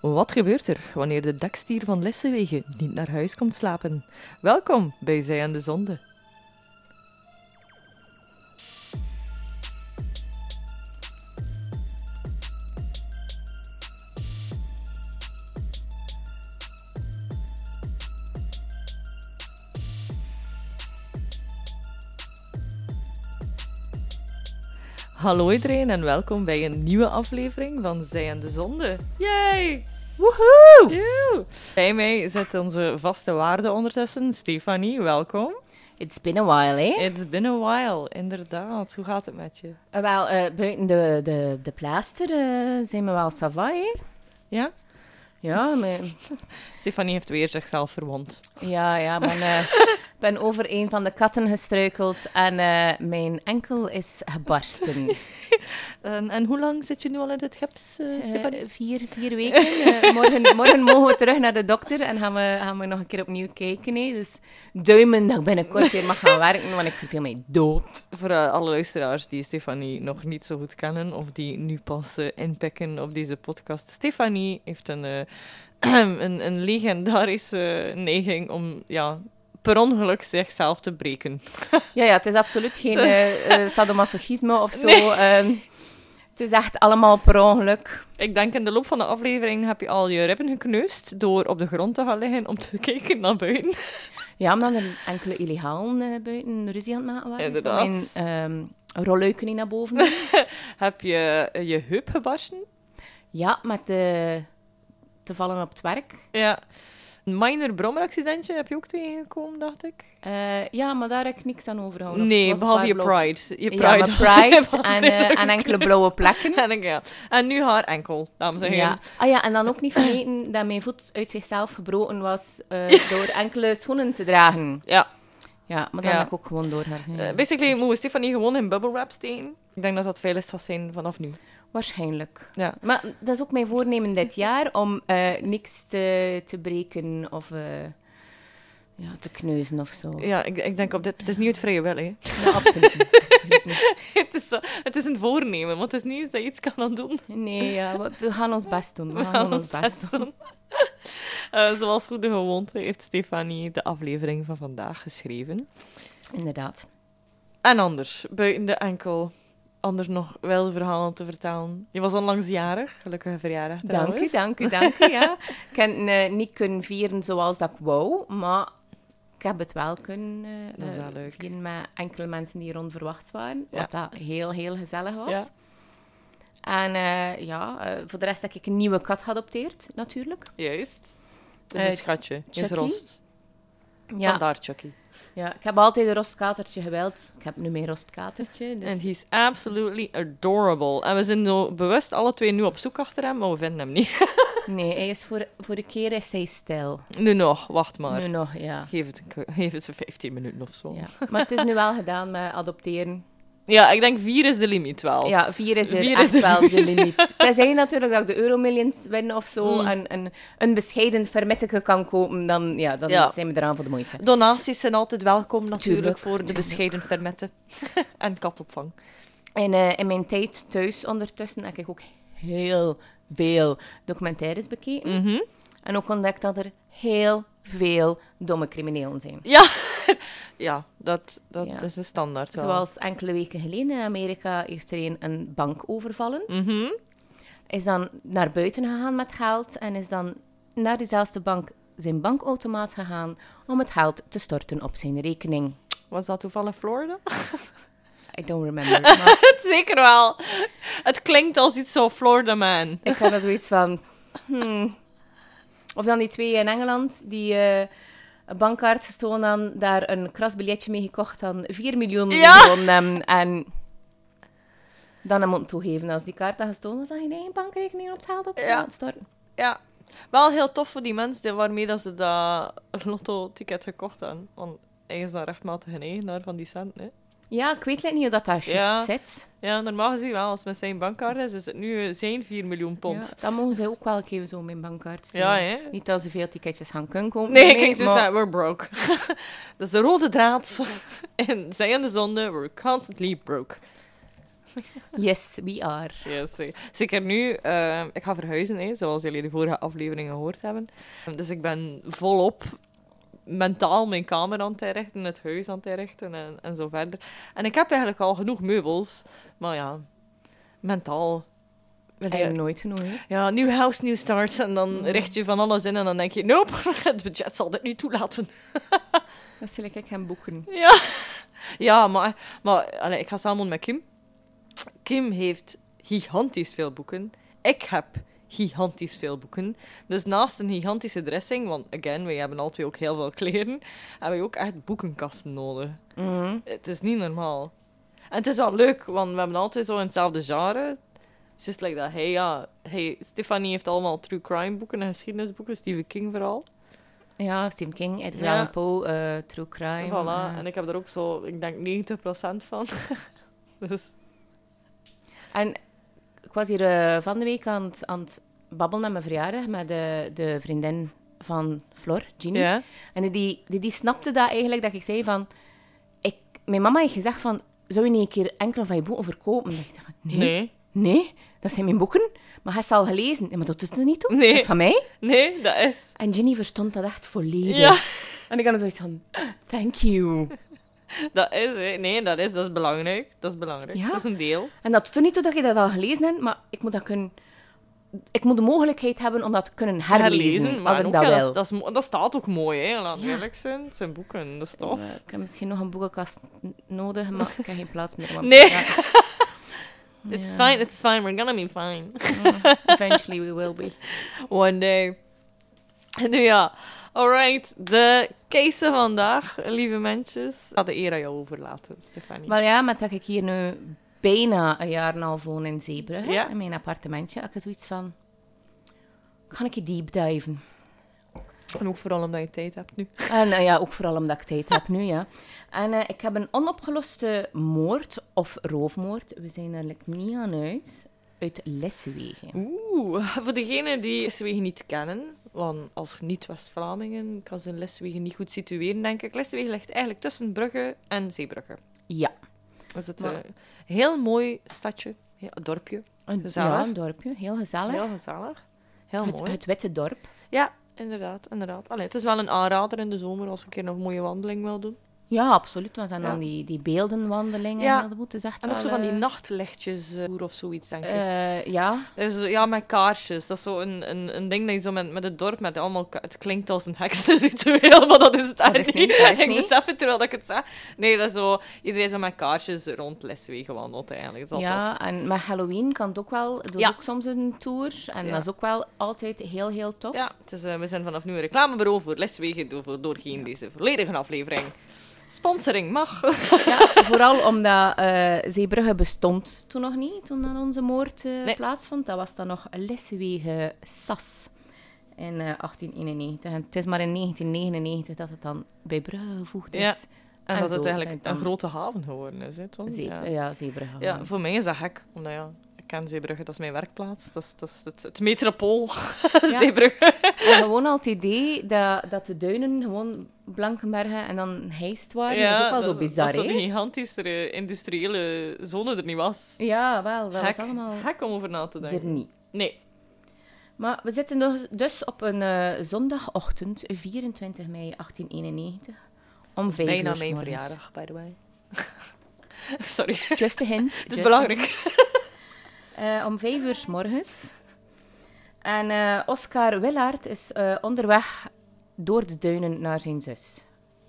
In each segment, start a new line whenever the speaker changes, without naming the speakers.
Wat gebeurt er wanneer de dakstier van Lessenwegen niet naar huis komt slapen? Welkom bij Zij aan de Zonde. Hallo iedereen en welkom bij een nieuwe aflevering van Zij aan de Zonde. Yay! Woehoe! Bij mij zit onze vaste waarde ondertussen, Stefanie. Welkom.
It's been a while, eh? hè?
It's been a while, inderdaad. Hoe gaat het met je?
Eh, wel, eh, buiten de, de, de pleister eh, zijn we wel savai, hè?
Ja?
Ja, maar,
Stefanie heeft weer zichzelf verwond.
ja, ja, maar eh, ik ben over een van de katten gestruikeld en eh, mijn enkel is gebarsten.
En, en hoe lang zit je nu al in het gips, eh, Stefanie?
Eh, vier, vier weken. eh, morgen, morgen mogen we terug naar de dokter en gaan we, gaan we nog een keer opnieuw kijken. Hè? Dus duimen dat ik binnenkort weer mag gaan werken, want ik verveel mij dood.
Voor eh, alle luisteraars die Stefanie nog niet zo goed kennen of die nu pas eh, inpikken op deze podcast. Stefanie heeft een, eh, een, een legendarische neiging om ja, per ongeluk zichzelf te breken.
Ja, ja, het is absoluut geen eh, eh, sadomasochisme of zo. ehm, het is echt allemaal per ongeluk.
Ik denk in de loop van de aflevering heb je al je ribben gekneusd door op de grond te gaan liggen om te kijken naar buiten.
Ja, omdat er enkele illegalen eh, buiten ruzie aan het maken waren.
Inderdaad.
En ehm rolluiken niet naar boven. doen.
Heb je eh, je heup gebarsten?
ja, met de... te vallen op het werk.
Ja. Een minor brommeraccidentje heb je ook tegengekomen, dacht ik.
Eh, ja, maar daar heb ik niks aan overgehouden. Of het
Nee,
Oh, was
behalve
een
je
paar blauwe-
pride. Je pride.
Ja, maar pride
was
en,
heel
eh, en enkele blauwe plekken.
En, ik, ja. en nu haar enkel, dames en heren.
Ja. Ah ja, en dan ook niet vergeten dat mijn voet uit zichzelf gebroken was eh, door enkele schoenen te dragen.
Ja.
Ja, maar dan
Ja.
heb ik ook gewoon doorgegaan.
Eh, basically moeten we Stefanie gewoon in bubble wrap steken. Ik denk dat dat veilig gaat zijn vanaf nu.
Waarschijnlijk.
Ja.
Maar dat is ook mijn voornemen dit jaar, om eh, niks te, te breken of eh, ja, te kneuzen of zo.
Ja, ik, ik denk op dit... Het is niet het vrije wil, hè.
Ja, absoluut niet, absoluut niet.
het, is, zo- het is een voornemen, want het is niet eens dat je iets kan aan doen.
Nee, ja, we, we gaan ons best doen. We, gaan, ons best, doen.
Eh, zoals goede gewoonte heeft Stefanie de aflevering van vandaag geschreven.
Inderdaad.
En anders, buiten de enkel, anders nog wel verhalen te vertellen. Je was onlangs jarig, gelukkige verjaardag
Dank u,
trouwens.
dank u, dank u. Ja. Ik heb eh, niet kunnen vieren zoals dat ik wou, maar ik heb het wel kunnen eh,
Dat is wel
eh,
leuk.
vieren met enkele mensen die er onverwacht waren.
Ja.
Wat dat heel, heel gezellig was.
Ja.
En eh, ja, eh, voor de rest heb ik een nieuwe kat geadopteerd, natuurlijk.
Juist. Het is een
Eh,
schatje, het is
Chucky?
rost.
Ja,
Vandaar Chucky.
ja, ik heb altijd een rostkatertje geweld. Ik heb nu mijn rostkatertje. Dus...
En he's absolutely adorable. En we zijn zo bewust alle twee nu op zoek achter hem, maar we vinden hem niet.
Nee, hij is voor, voor de keer is hij stijl.
Nu nog, wacht maar.
Nu nog, ja.
Geef het, een ke- geef het ze 15 minuten of zo. Ja.
ja. Maar het is nu wel gedaan met adopteren.
ik denk vier is de limiet wel.
Ja, vier is er
Oh. Vier is
echt
de
wel de
limiet.
limiet. Tenzij natuurlijk dat ik de Euromillions win of zo
Mm.
en een, een bescheiden vermitteke kan kopen, dan, ja, dan
Ja.
zijn we eraan voor de moeite.
Donaties zijn altijd welkom natuurlijk
Tuurlijk,
voor de
tuurlijk.
bescheiden fermetten en katopvang.
En eh, in mijn tijd thuis ondertussen heb ik ook heel veel documentaires bekeken.
Mhm.
En ook ontdekt dat er heel veel domme criminelen zijn.
Ja, ja dat, dat
Ja.
is een standaard wel.
Zoals enkele weken geleden in Amerika heeft er een een bank overvallen.
Mhm.
Is dan naar buiten gegaan met geld en is dan naar diezelfde bank zijn bankautomaat gegaan om het geld te storten op zijn rekening.
Was dat toevallig Florida?
I don't remember. maar
Zeker wel. Het klinkt als iets zo Florida man.
ik had er zoiets van... hmm. Of dan die twee in Engeland die eh, een bankkaart gestolen hadden, daar een krasbiljetje mee gekocht hadden, 4 miljoen
Ja.
gewonnen hebben en... Dan hem moeten toegeven, als die kaart dan gestolen was, dan ging hij een bankrekening op het geld op
Ja.
laten storten.
Ja. Wel heel tof voor die mensen waarmee dat ze dat lotto-ticket gekocht hebben. Want hij is dan rechtmatig een eigenaar van die cent, hè.
Ja, ik weet net niet hoe dat daar juist
Ja.
zit.
Ja, normaal gezien wel. Als het met zijn bankkaart is, is het nu eh, zijn 4 miljoen pond.
Ja, dan mogen ze ook wel een keer zo mijn bankkaart stelen.
Ja, hè?
Niet dat ze veel ticketjes gaan kunnen kopen.
Nee,
ermee,
kijk, dus
maar-
dat- we're broke. Dus dat is de rode draad. en zij en de zonde, we're constantly broke.
Yes, we are.
Yes, eh. Zeker nu, eh, ik ga verhuizen, hè, zoals jullie de vorige afleveringen gehoord hebben. Dus ik ben volop mentaal mijn kamer aan het herrichten, het huis aan het herrichten en, en zo verder. En ik heb eigenlijk al genoeg meubels, maar ja, mentaal. wil je- Mm.
Eigenlijk nooit genoeg, hè?
Ja, nieuw house, nieuw start. En dan richt je van alles in en dan denk je, nope, het budget zal dit niet toelaten.
Dat zal ik gaan boeken.
Ja, ja maar, maar allee, ik ga samen met Kim. Kim heeft gigantisch veel boeken. Ik heb gigantisch veel boeken. Dus naast een gigantische dressing, want again, wij hebben altijd ook heel veel kleren, hebben we ook echt boekenkasten nodig. Het is niet normaal. En het is wel leuk, want we hebben altijd zo in hetzelfde genre. Het is just like dat. Hey, ja. Hey, Stefanie heeft allemaal true crime boeken en geschiedenisboeken. Stephen King vooral.
Ja, Stephen King, Edgar
Ja.
Allan Poe, eh, True Crime.
voilà.
eh.
En ik heb er ook zo, ik denk 90% van. dus
En ik was hier eh, van de week aan het, aan het babbelen met mijn verjaardag met de, de vriendin van Flor, Jeannie.
ja.
En die, die, die snapte dat eigenlijk, dat ik zei van... Ik, mijn mama heeft gezegd van, zou je niet een keer enkele van je boeken verkopen? En ik dacht van, nee, nee,
Nee.
dat zijn mijn boeken. Maar hij is al gelezen. Ja, maar dat doet er niet toe.
Nee.
Dat is van mij.
Nee, dat is.
En Ginny verstond dat echt volledig.
Ja,
En ik had zoiets van, thank you.
dat is. Hè. Nee, dat is. Dat is belangrijk. Dat is belangrijk.
Ja.
Dat is een deel.
En dat doet er niet toe dat je dat al gelezen hebt, maar ik moet dat kunnen... Ik moet de mogelijkheid hebben om dat te kunnen herlezen,
maar
als ik
ook,
dat
ja,
wil.
is- dat, is mo- dat staat ook mooi, hè. Laat
Ja.
eerlijk zijn. Het zijn boeken. Dat is tof.
Eh, Ik heb misschien nog een boekenkast n- nodig, maar ik heb geen plaats meer. want-
Nee.
Ja.
It's
Ja.
fine, it's fine. We're gonna be fine.
Eventually we will be.
One day. En nu ja, alright. De case vandaag, lieve mensjes. Ik ga de eer aan jou overlaten, Stefanie.
Wel ja, maar dat ik hier nu bijna een jaar en een half woon in Zeebrugge,
Ja.
in mijn appartementje, had ik zoiets van... Kan ik je deep diven?
En ook vooral omdat je tijd hebt nu.
En eh, ja, ook vooral omdat ik tijd heb nu, ja. En eh, ik heb een onopgeloste moord of roofmoord. We zijn er like, niet aan uit. Uit Leswegen.
Oeh, voor degenen die Leswegen niet kennen, want als niet-West-Vlamingen kan ze Leswegen niet goed situeren, denk ik. Leswegen ligt eigenlijk tussen Brugge en Zeebrugge.
Ja.
Dus het
Maar-
een heel mooi stadje, heel, dorpje.
Een,
Gezellig.
ja, een dorpje. Heel gezellig.
Heel gezellig. Heel
het,
mooi.
het witte dorp.
Ja, inderdaad, inderdaad. Allee, het is wel een aanrader in de zomer als ik een keer een mooie wandeling wil doen.
Ja, absoluut. Want dan,
Ja.
dan die, die beeldenwandelingen.
Ja.
Ja. Dat is echt
En ook
wel,
zo van die
eh,
nachtlichtjes eh, of zoiets, denk ik.
eh, ja,
Dus, ja, met kaarsjes. Dat is zo een, een, een ding dat je zo met, met het dorp, met allemaal... ka- Het klinkt als een heksenritueel, maar dat is het
Dat
daar
is niet, dat is
ik
niet.
besef het terwijl ik het zeg. Nee, dat is zo... Iedereen zo met kaarsjes rond Leswegen wandelt, eigenlijk. Dat is wel tof.
ja en met Halloween kan het ook wel. Dat is
Ja.
ook soms een tour. En
Ja.
dat is ook wel altijd heel, heel tof.
Ja, het is, eh, we zijn vanaf nu een reclamebureau voor Leswegen door, voor doorheen deze volledige aflevering. Sponsoring mag.
Ja, vooral omdat eh Zeebrugge bestond toen nog niet, toen dat onze moord eh,
Nee.
plaatsvond. Dat was dan nog Lessewegen Sas in eh, 1891. En het is maar in 1999 dat het dan bij Brugge gevoegd
Ja.
is.
En,
En
dat
zo
het
zijn
eigenlijk
dan-
een grote haven geworden is, hè, Tom?
Zee-
Ja.
ja. Zeebrugge.
Ja, voor mij is dat gek. Omdat ja, ik ken Zeebrugge, dat is mijn werkplaats. Dat is, dat is het, het metropool Zeebrugge.
En gewoon al het idee dat, dat de duinen gewoon Blankenbergen en dan Heist waren, dat is ook wel zo bizar,
Dat is
hè?
een gigantische industriële zone er niet was.
Ja, wel. Dat
Hek,
was allemaal
hek om over na te
er
denken.
niet.
Nee.
Maar we zitten dus- dus op een eh, zondagochtend, 24 mei 1891, om vijf uur
Bijna
s
mijn
morgens.
verjaardag, by the way. Sorry, het
Just a hint. just
is
a-
belangrijk.
Eh, om vijf uur s morgens. En eh, Oscar Willaert is eh, onderweg door de duinen naar zijn zus.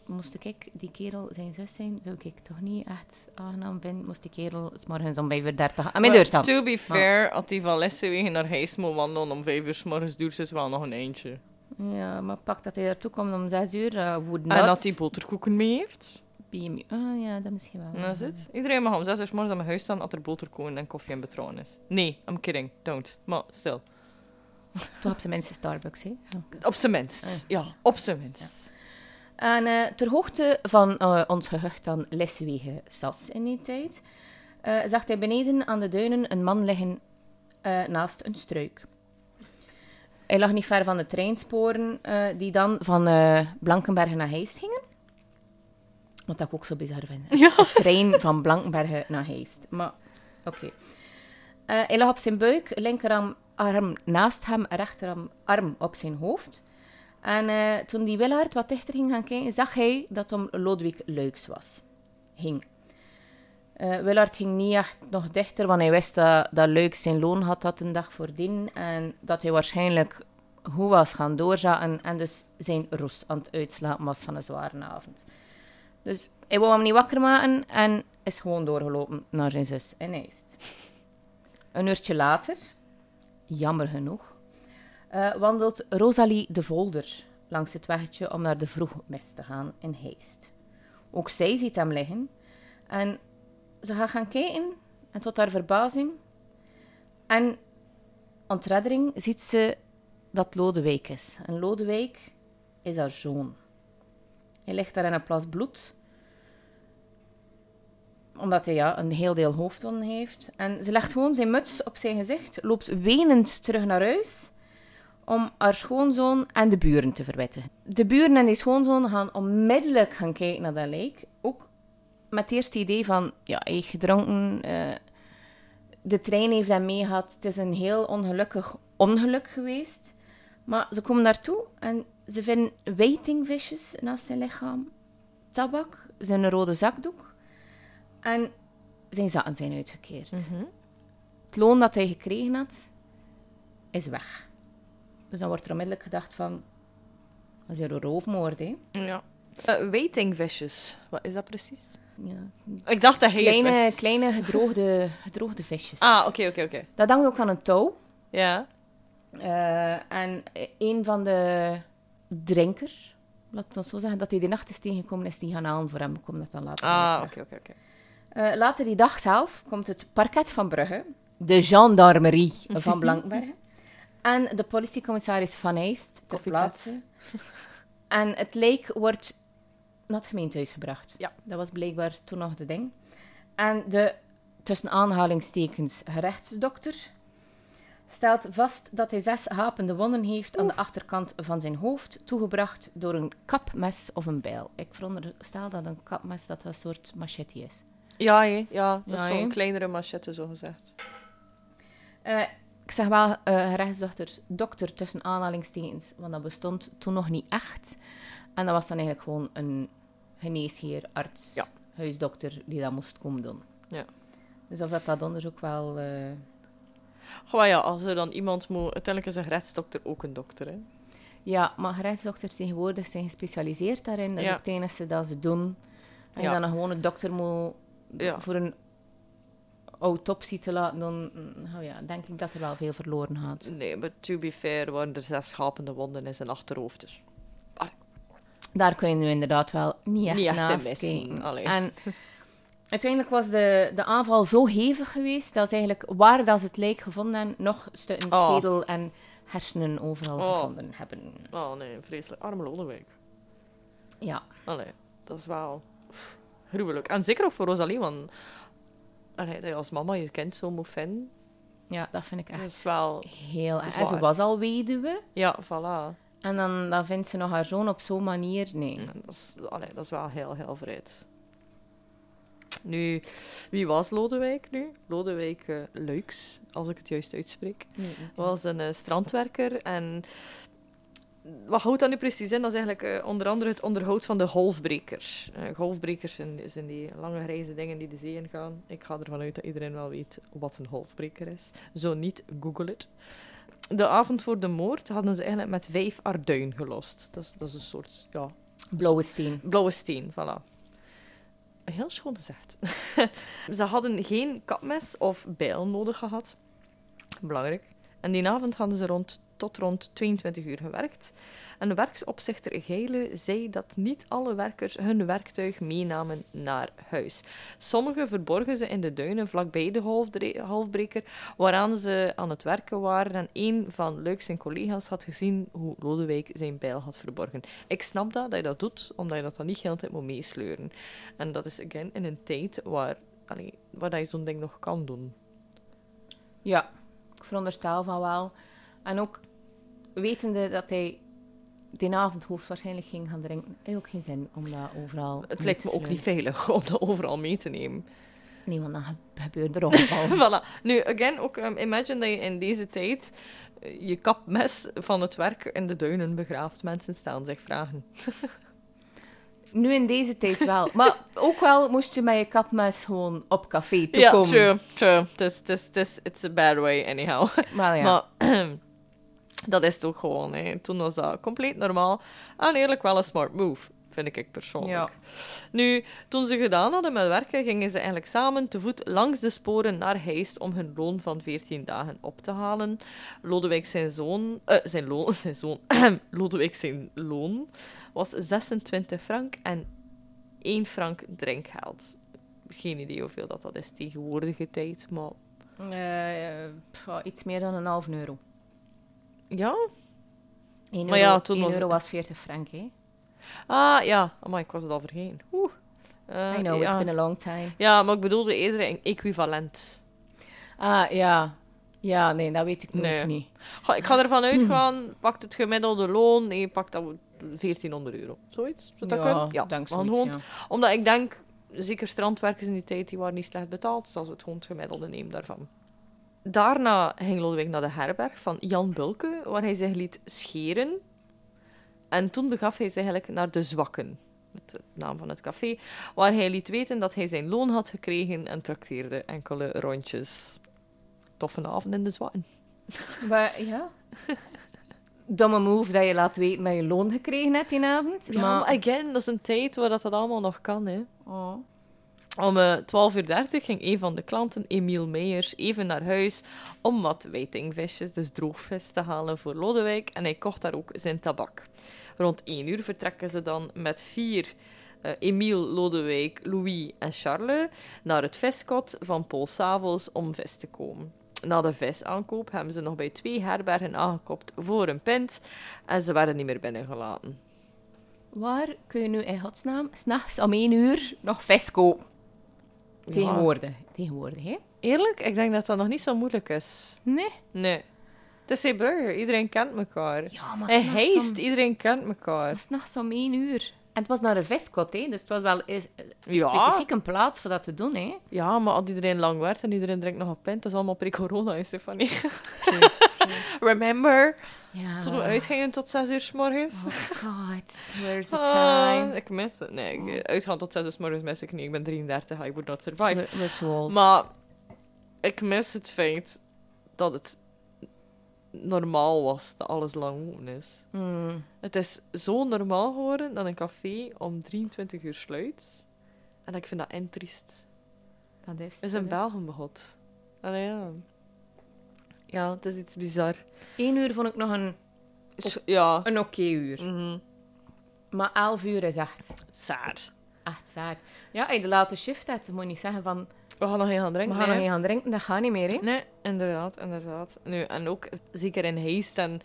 Moest ik die kerel zijn zus zijn, zou ik toch niet echt aangenaam vinden. Moest die kerel s morgens om 5.30 uur aan mijn deur staan.
To be fair, had die van Lessenwegen naar Heist moet wandelen om vijf uur s morgens duurt het wel nog een eindje.
Ja, maar pak dat hij daartoe komt om 6 uur, eh would not
En dat hij boterkoeken mee heeft.
be me- Ah, ja, dat misschien wel.
En dat is het. Iedereen mag om zes uur s morgens aan mijn huis staan als er boterkoeken en koffie en betrouwen is. Nee, I'm kidding. Don't. Maar stil.
Toch op zijn minst Starbucks, hè? Ja.
Op zijn minst.
Ah.
Ja, op zijn minst.
En eh, ter hoogte van eh, ons gehucht dan Leswegen Sas in die tijd, eh, zag hij beneden aan de duinen een man liggen eh, naast een struik. Hij lag niet ver van de treinsporen eh, die dan van eh, Blankenbergen naar Heist gingen. Wat dat ik ook zo bizar vind.
Ja.
Trein van Blankenbergen naar Heist. Maar Oké. Eh, hij lag op zijn buik, linkerarm arm naast hem, rechterarm arm op zijn hoofd. En eh, toen die Willaard wat dichter ging gaan kijken, zag hij dat hem Lodewijk Luiks was. Hing. Eh Willaard ging niet echt nog dichter, want hij wist dat, dat Luiks zijn loon had dat een dag voordien. En dat hij waarschijnlijk goed was gaan doorzaten en dus zijn roes aan het uitslapen was van een zware avond. Dus hij wou hem niet wakker maken en is gewoon doorgelopen naar zijn zus in Eist. Een uurtje later, jammer genoeg, eh, wandelt Rosalie de Volder langs het weggetje om naar de vroegmis te gaan in Heist. Ook zij ziet hem liggen en ze gaat gaan kijken en tot haar verbazing en ontreddering ziet ze dat Lodewijk is. En Lodewijk is haar zoon. Hij ligt daar in een plas bloed. Omdat hij ja, een heel deel hoofdwonden heeft. En ze legt gewoon zijn muts op zijn gezicht, loopt wenend terug naar huis om haar schoonzoon en de buren te verwittigen. De buren en die schoonzoon gaan onmiddellijk gaan kijken naar dat lijk. Ook met het eerste idee van, ja, hij heeft gedronken, eh, de trein heeft hem mee gehad. Het is een heel ongelukkig ongeluk geweest. Maar ze komen daartoe en ze vinden waitingvisjes naast zijn lichaam, tabak, zijn rode zakdoek en zijn zakken zijn uitgekeerd. Het loon dat hij gekregen had, is weg. Dus dan wordt er onmiddellijk gedacht van, dat is hier een roofmoord, hè?
Ja. Eh, waitingvisjes. Wat is dat precies?
Ja.
Ik dacht dat hij het
Kleine,
wist.
kleine gedroogde, gedroogde visjes.
Ah, oké, oké, oké.
Dat hangt ook aan een touw.
Ja.
Eh, en een van de drinkers, laten we het zo zeggen, dat hij de nacht is tegengekomen, is die gaan halen voor hem. Ik kom dat dan later nog
Ah,
terug.
oké, oké, oké.
Eh, later die dag zelf komt het parket van Brugge, de gendarmerie van Blankbergen, en de politiecommissaris Van Eijst ter
Koffieplaats.
plaatse. En het lijk wordt naar het gemeentehuis gebracht.
Ja.
Dat was blijkbaar toen nog de ding. En de, tussen aanhalingstekens, gerechtsdokter stelt vast dat hij zes hapende wonden heeft aan de achterkant van zijn hoofd, toegebracht door een kapmes of een bijl. Ik veronderstel dat een kapmes dat een soort machete is.
Ja, hé. ja, dat
Ja,
is
hé.
zo'n kleinere machette, zo gezegd.
Eh, ik zeg wel eh gerechtsdochter dokter tussen aanhalingstekens, want dat bestond toen nog niet echt. En dat was dan eigenlijk gewoon een geneesheer, arts,
Ja.
huisdokter die dat moest komen doen.
Ja.
Dus of dat, dat onderzoek wel... eh,
Goh ja, als er dan iemand moet... Uiteindelijk is een gerechtsdokter ook een dokter, hè.
Ja, maar gerechtsdokters tegenwoordig zijn gespecialiseerd daarin. Dat is
Ja.
ook het enige dat ze doen. En
Ja.
je dan een gewone dokter moet
Ja.
voor een autopsie te laten doen, nou ja, denk ik dat er wel veel verloren gaat.
Nee, maar to be fair waren er zes schapende wonden in zijn achterhoofd. Dus.
daar kun je nu inderdaad wel niet echt,
Niet echt in
naast
missen,
kijken.
allee.
En uiteindelijk was de, de aanval zo hevig geweest dat ze eigenlijk waar dat ze het lijk gevonden hebben, nog stukken
Oh.
schedel en hersenen overal
Oh.
gevonden hebben.
Oh nee, vreselijk. Arme Lodewijk.
Ja,
Allee, dat is wel pff, gruwelijk. En zeker ook voor Rosalie, want allee, dat je als mama je kind zo moet vinden,
ja, dat vind ik
dat
echt
is wel...
heel erg. En ze
zwaar.
was al weduwe
Ja, voilà.
en dan, dan vindt ze nog haar zoon op zo'n manier. Nee.
En Dat is, allee, dat is wel heel, heel vreed. Nu, wie was Lodewijk nu? Lodewijk eh, Luiks, als ik het juist uitspreek.
Nee.
was een eh, strandwerker en wat houdt dat nu precies in? Dat is eigenlijk eh, onder andere het onderhoud van de golfbrekers. Eh, golfbrekers zijn, zijn die lange grijze dingen die de zee in gaan. Ik ga ervan uit dat iedereen wel weet wat een golfbreker is. Zo niet, google het. De avond voor de moord hadden ze eigenlijk met vijf arduin gelost. Dat is, dat is een soort ja,
Blauwe steen.
Blauwe steen, voilà. Heel schoon gezegd. Ze hadden geen kapmes of bijl nodig gehad. Belangrijk. En die avond hadden ze rond, tot rond 22 uur gewerkt. En de werksopzichter Geile zei dat niet alle werkers hun werktuig meenamen naar huis. Sommigen verborgen ze in de duinen vlakbij de halfdre- halfbreker, waaraan ze aan het werken waren. En een van Leuk zijn collega's had gezien hoe Lodewijk zijn bijl had verborgen. Ik snap dat, dat je dat doet, omdat je dat dan niet de hele tijd moet meesleuren. En dat is, again, in een tijd waar, allee, waar dat je zo'n ding nog kan doen.
Ja, ik veronderstel van wel. En ook wetende dat hij die avond hoogstwaarschijnlijk ging gaan drinken, hij ook geen zin om dat overal
Het
mee
lijkt
te
me ook niet
sleuren.
veilig om dat overal mee te nemen.
Nee, want dan ge- gebeuren er ongevallen.
voilà. Nu, again, ook ehm, imagine dat je in deze tijd eh, je kapmes van het werk in de duinen begraaft. Mensen stellen zich vragen.
nu in deze tijd wel. Maar ook wel moest je met je kapmes gewoon op café toe
ja,
komen.
true, true. Dus, dus, dus, it's a bad way, anyhow.
Maar ja.
Maar dat is toch gewoon, hè. toen was dat compleet normaal. En eerlijk wel een smart move, vind ik persoonlijk.
Ja.
Nu, toen ze gedaan hadden met werken, gingen ze eigenlijk samen te voet langs de sporen naar Heist om hun loon van 14 dagen op te halen. Lodewijk zijn zoon, eh, zijn loon, zijn zoon, Lodewijk zijn loon was 26 frank en 1 frank drinkgeld. Geen idee hoeveel dat, dat is tegenwoordige tijd, maar
Eh, eh, pff, ja, iets meer dan een half euro.
ja,
1 euro,
Maar ja, toen
één
was-
euro was 40 frank, hè?
Ah, ja. Amai, ik was het al vergeten. Oeh. Eh,
I know,
ja.
it's been a long time.
Ja, maar ik bedoelde eerder een equivalent.
Ah, ja. Ja, nee, dat weet ik nu
Nee.
ook niet.
Ga- Ik ga
Mm.
ervan uitgaan, pakt het gemiddelde loon, nee, pakt dat 1400 euro. Zoiets? Zou dat kunnen?
ja,
Want
dankzij
gewoon-
ja.
Omdat ik denk, zeker strandwerkers in die tijd, die waren niet slecht betaald. Dus als we het gewoon het gemiddelde nemen daarvan. Daarna ging Lodewijk naar de herberg van Jan Bulke, waar hij zich liet scheren. En toen begaf hij zich eigenlijk naar De Zwakken, het de naam van het café, waar hij liet weten dat hij zijn loon had gekregen en trakteerde enkele rondjes. Toffe avond in De Zwakken.
Maar ja. Domme move dat je laat weten dat je loon gekregen hebt die avond.
Ja, maar again, dat is een tijd waar dat, dat allemaal nog kan, hè.
Oh.
Om eh 12.30 uur ging een van de klanten, Emiel Meijers, even naar huis om wat wijtingvisjes, dus droogvis, te halen voor Lodewijk. En hij kocht daar ook zijn tabak. Rond 1 uur vertrekken ze dan met vier, eh Emiel, Lodewijk, Louis en Charles, naar het viskot van Paul Savels om vis te komen. Na de visaankoop hebben ze nog bij twee herbergen aangekopt voor een pint en ze werden niet meer binnengelaten.
Waar kun je nu in godsnaam s'nachts om 1 uur nog vis kopen?
Ja.
Tegenwoordig. Tegenwoordig, hè?
Eerlijk, ik denk dat dat nog niet zo moeilijk is.
Nee.
Nee. Het is Zeebrugge, iedereen kent elkaar.
Ja, maar
en
s'nachts
heist,
om-
iedereen kent elkaar.
maar s'nachts om 1 uur. En het was naar een viskot, hè? Dus het was wel is-
Ja.
specifiek een plaats voor dat te doen, hè?
Ja, maar als iedereen lang werd en iedereen drinkt nog een pint, dat is allemaal pre-corona, hè, Stefanie. Remember,
Ja.
toen we uitgingen tot 6 uur s morgens.
Ah. Oh god, where's the
Ah,
time?
ik mis het. Nee, ik- uitgaan tot 6 uur s morgens mis ik niet. Ik ben 33, I would not survive.
We're, we're too old.
Maar ik mis het feit dat het normaal was dat alles lang open is.
Mm.
Het is zo normaal geworden dat een café om 23 uur sluit. En ik vind dat en triest.
Dat is,
Is een
dat
Belgen begot. Allee, ja. Ja, het is iets bizar.
is. Eén uur vond ik nog een,
S- Ja.
een oké uur.
Mhm.
Maar elf uur is echt,
Saar.
echt saai. Ja, als je de late shift hebt, moet je niet zeggen van...
We gaan nog geen gaan
We
drinken.
gaan nog
nee.
niet gaan drinken, dat gaat niet meer, hè?
Nee, inderdaad, inderdaad. Nu, en ook zeker in Heist en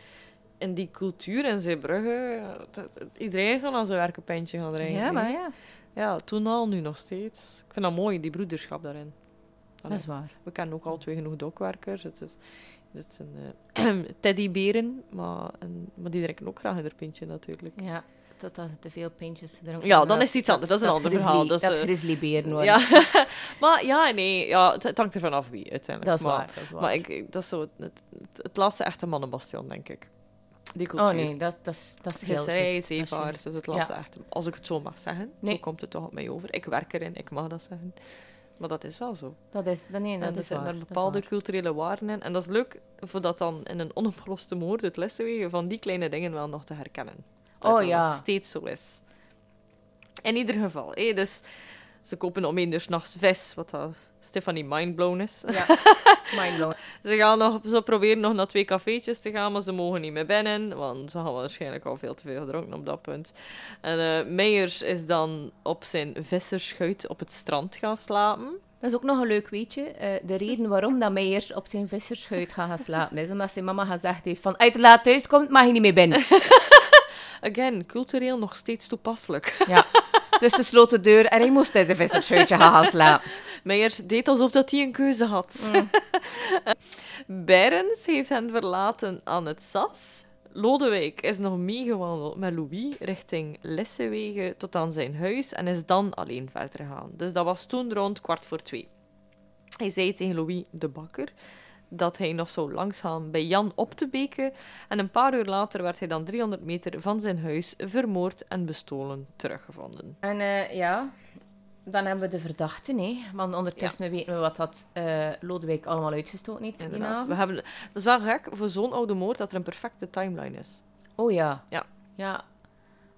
in die cultuur in Zeebrugge. dat- dat- Iedereen gaat aan zijn werk een pintje gaan drinken.
Ja,
hè.
maar ja.
Ja, toen al, nu nog steeds. Ik vind dat mooi, die broederschap daarin.
Dat is waar.
We kennen ook al twee genoeg dokwerkers. Het, is, het zijn eh, teddyberen, maar, en, maar die drinken ook graag in haar pintje natuurlijk.
Ja, totdat ze te veel pintjes drinken.
Ja, dan is het iets anders. Dat is een ander
grizzly-
verhaal. Dat is,
dat
eh,
grizzlyberen worden.
Ja, maar ja, nee, ja, het, het hangt ervan af wie uiteindelijk.
dat is
maar,
waar, dat is waar.
Maar ik, ik- dat is zo het, het, het laatste echte mannenbastion, denk ik. Die cultuur.
oh nee, dat, dat is, dat is heel
Visserij,
juist, dat is
zeevaart,
juist.
dat is het laatste
Ja.
echte. Als ik het zo mag zeggen,
Nee.
zo komt het toch op mij over. Ik werk erin, ik mag dat zeggen. Maar dat is wel zo.
Dat is, dat- nee,
En
dat
er
is
zijn
waar.
daar
dat is
bepaalde
waar.
culturele waarden in. En dat is leuk voor dat dan in een onopgeloste moord het lessenwegen van die kleine dingen wel nog te herkennen. Dat
Oh
dat
ja.
nog steeds zo is. In ieder geval. hé, dus ze kopen om één uur 's nachts vis, wat dat Stephanie mindblown is.
Ja, mindblown.
Ze, gaan nog, ze proberen nog naar twee cafeetjes te gaan, maar ze mogen niet meer binnen, want ze hadden waarschijnlijk al veel te veel gedronken op dat punt. En eh, Meijers is dan op zijn visserschuit op het strand gaan slapen.
Dat is ook nog een leuk weetje. Eh, de reden waarom dat Meijers op zijn visserschuit gaat gaan slapen is omdat zijn mama gezegd heeft van uit de laat thuis komt, mag je niet meer binnen.
Again, cultureel nog steeds toepasselijk.
Ja. Dus ze sloot de deur en hij moest in zijn visserschuitje gaan, gaan slapen.
Meijers deed alsof dat hij een keuze had. Berens heeft hen verlaten aan het sas. Lodewijk is nog meegewandeld met Louis richting Lissewegen tot aan zijn huis en is dan alleen verder gegaan. Dus dat was toen rond kwart voor twee. Hij zei tegen Louis de Bakker dat hij nog zou langsgaan bij Jan op te beken. En een paar uur later werd hij dan 300 meter van zijn huis vermoord en bestolen teruggevonden.
En eh, ja, dan hebben we de verdachte, hè. Want ondertussen weten we wat dat eh, Lodewijk allemaal uitgestoten heeft die
Inderdaad.
avond.
We hebben, dat is wel gek voor zo'n oude moord dat er een perfecte timeline is.
Oh ja.
Ja.
Ja.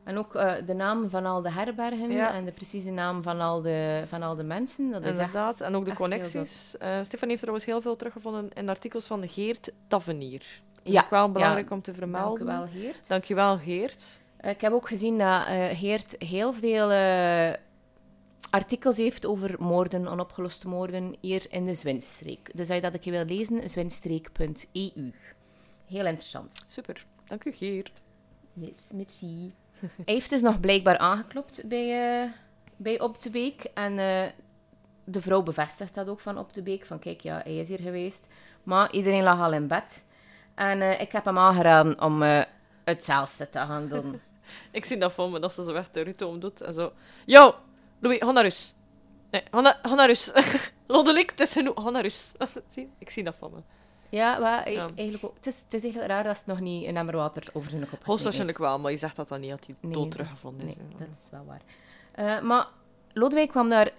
En ook eh, de naam van al de herbergen
Ja.
en de precieze naam van al de, van al de mensen. Dat is
Inderdaad.
echt...
en ook de
echt heel
connecties. Eh, Stefan heeft trouwens heel veel teruggevonden in artikels van Geert Tavenier.
Ja,
Ook wel belangrijk
ja.
om te
Dank u
vermelden.
wel, Heert.
Dankjewel, Geert.
Eh, ik heb ook gezien dat eh, Heert heel veel eh, artikels heeft over moorden, onopgeloste moorden, hier in de Zwinstreek. Dus als je dat een keer wil lezen, zwinstreek.eu. Heel interessant.
Super. Dank u, Geert.
Yes, merci. Hij heeft dus nog blijkbaar aangeklopt bij, eh bij Op de Beek. En eh, de vrouw bevestigt dat ook van Op de Beek. Van kijk, ja, hij is hier geweest. Maar iedereen lag al in bed. En eh, ik heb hem aangeraden om eh, hetzelfde te gaan doen.
Ik zie dat voor me, dat ze zo weg de Rutte om doet en zo... Yo, Louis, ga naar Rus. Nee, ga naar, ga naar Rus. Lodelijk, het is genoeg, ga naar Rus. Als het zien- Ik zie dat voor me.
ja, maar
Ja.
Eigenlijk ook, het, is, het is eigenlijk raar dat ze nog niet een emmer water over zijn kop gesmeten
Hoogstwaarschijnlijk wel, maar je zegt dat dan niet, dat hij
Nee,
dood
dat-
teruggevonden
Nee,
is.
dat is wel waar. Eh, maar Lodewijk kwam daar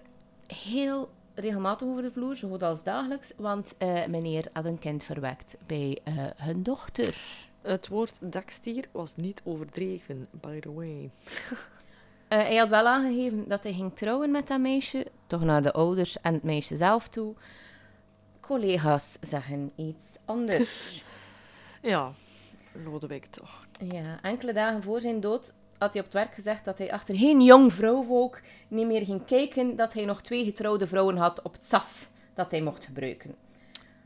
heel regelmatig over de vloer, zo goed als dagelijks, want eh, meneer had een kind verwekt bij eh, hun dochter.
Het woord dekstier was niet overdreven, by the way.
Eh, hij had wel aangegeven dat hij ging trouwen met dat meisje, toch naar de ouders en het meisje zelf toe. Collega's zeggen iets anders.
Ja, Lodewijk toch.
ja, enkele dagen voor zijn dood had hij op het werk gezegd dat hij achter geen jong vrouwvolk niet meer ging kijken, dat hij nog twee getrouwde vrouwen had op het sas dat hij mocht gebruiken.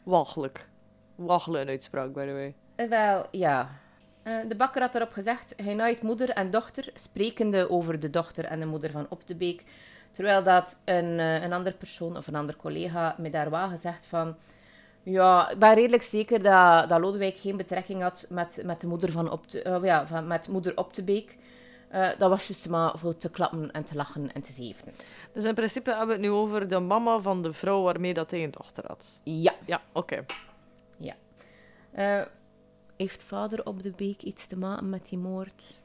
Walgelijk. Walgelijk een uitspraak, by the way.
Eh, Wel, ja. Eh, de bakker had erop gezegd, hij naait moeder en dochter, sprekende over de dochter en de moeder van Op de Beek. Terwijl dat een, eh, een ander persoon of een ander collega met daar wagen zegt van... Ja, ik ben redelijk zeker dat, dat Lodewijk geen betrekking had met, met de moeder van Op de, of ja, van, met moeder Op de Beek. Eh, dat was juist maar voor te klappen en te lachen en te zeven.
Dus in principe hebben we het nu over de mama van de vrouw waarmee dat hij een dochter had.
Ja.
Ja, oké.
Eh, heeft vader op de beek iets te maken met die moord?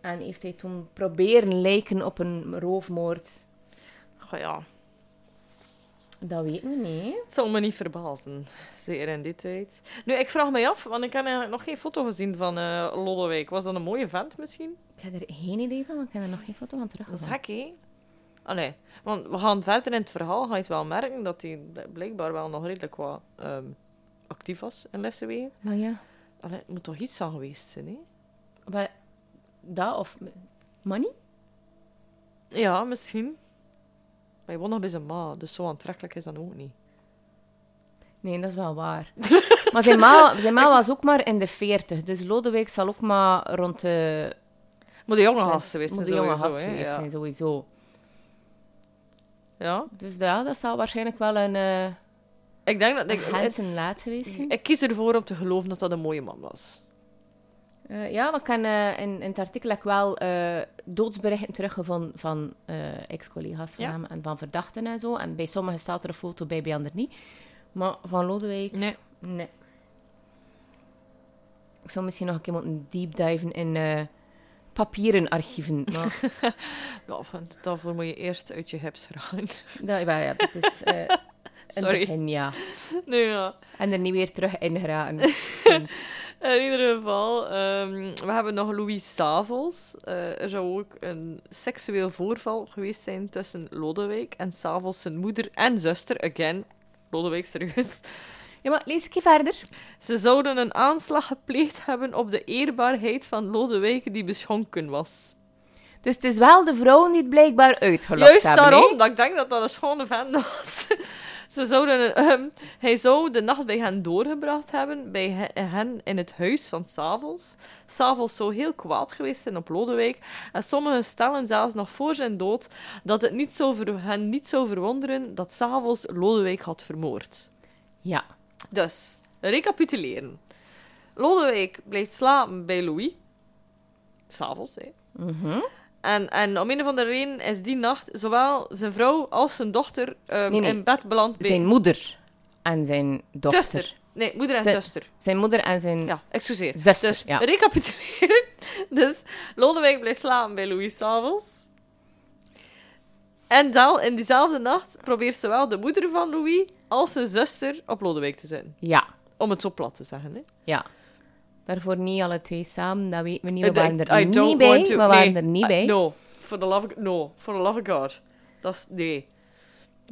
En heeft hij toen proberen lijken op een roofmoord?
Goh ja,
Dat weten we niet. hè.
het zal me niet verbazen. Zeker in die tijd. Nu, ik vraag mij af, want ik heb eigenlijk nog geen foto gezien van eh Lodewijk. Was dat een mooie vent misschien?
Ik heb er geen idee van, want ik heb er nog geen foto van terug.
Dat is gek, hè? Allee, want we gaan verder in het verhaal. Ga je het wel merken dat hij blijkbaar wel nog redelijk wat ehm, actief was in Lessenwegen.
Maar ja,
Allee, het moet toch iets aan geweest zijn, hè?
wat, dat of money?
Ja, misschien. Maar je woont nog bij zijn ma, dus zo aantrekkelijk is dat ook niet.
Nee, dat is wel waar. maar zijn ma, zijn ma was ook maar in de 40, dus Lodewijk zal ook maar rond de...
Moet de jonge gast geweest
moet
zijn,
de jonge
sowieso,
gast
hè?
geweest
Ja.
zijn, sowieso.
ja.
Dus ja, dat zal waarschijnlijk wel een, eh
Ik denk dat...
een
Ik, ik,
Hansen laat geweest zijn.
ik kies ervoor om te geloven dat dat een mooie man was.
Eh, ja, we kan eh, in, in het artikel heb ik wel eh, doodsberichten teruggevonden van eh, ex-collega's van
Ja.
hem en van verdachten en zo. En bij sommigen staat er een foto bij, bij anderen niet. Maar van Lodewijk,
Nee.
nee. Ik zou misschien nog een keer moeten deepdiven in eh, papierenarchieven. Maar
Ja, want daarvoor moet je eerst uit je hips gaan.
dat, wel, ja, dat is eh, een
Sorry.
begin, ja.
nee, ja.
En er niet weer terug in geraken.
In ieder geval, ehm, we hebben nog Louis Savels. Eh, er zou ook een seksueel voorval geweest zijn tussen Lodewijk en Savels zijn moeder en zuster. Again, Lodewijk, serieus.
Ja, maar lees ik je verder.
Ze zouden een aanslag gepleegd hebben op de eerbaarheid van Lodewijk die beschonken was.
Dus het is wel de vrouw niet blijkbaar uitgelokt
Juist
hebben, hè?
daarom, dat ik denk dat dat een schone vent was. Ze zouden, een- ehm, hij zou de nacht bij hen doorgebracht hebben, bij he- hen in het huis van Savels. Savels zou heel kwaad geweest zijn op Lodewijk. En sommigen stellen zelfs nog voor zijn dood dat het niet zou ver- hen niet zou verwonderen dat Savels Lodewijk had vermoord.
Ja.
Dus, recapituleren. Lodewijk blijft slapen bij Louis. S'avonds, hè.
Mhm.
En, en om een of andere reden is die nacht zowel zijn vrouw als zijn dochter ehm,
Nee, nee.
in bed beland bij
Zijn moeder en zijn dochter.
zuster. Nee, moeder en
Zijn-
zuster.
Zijn moeder en zijn...
Ja, excuseer.
Zuster,
dus
ja.
recapituleren. Dus Lodewijk blijft slapen bij Louis s'avonds. En dan, in diezelfde nacht probeert zowel de moeder van Louis als zijn zuster op Lodewijk te zetten.
Ja,
Om het zo plat te zeggen. Hè.
ja. Daarvoor niet alle twee samen, dat weten we niet. We
Ik-
waren
ik-
er
Uh, I
niet
don't
bij.
want to-
We waren
nee.
er niet
I-
bij.
No, for the love of, no, for the love of God. Dat is, nee.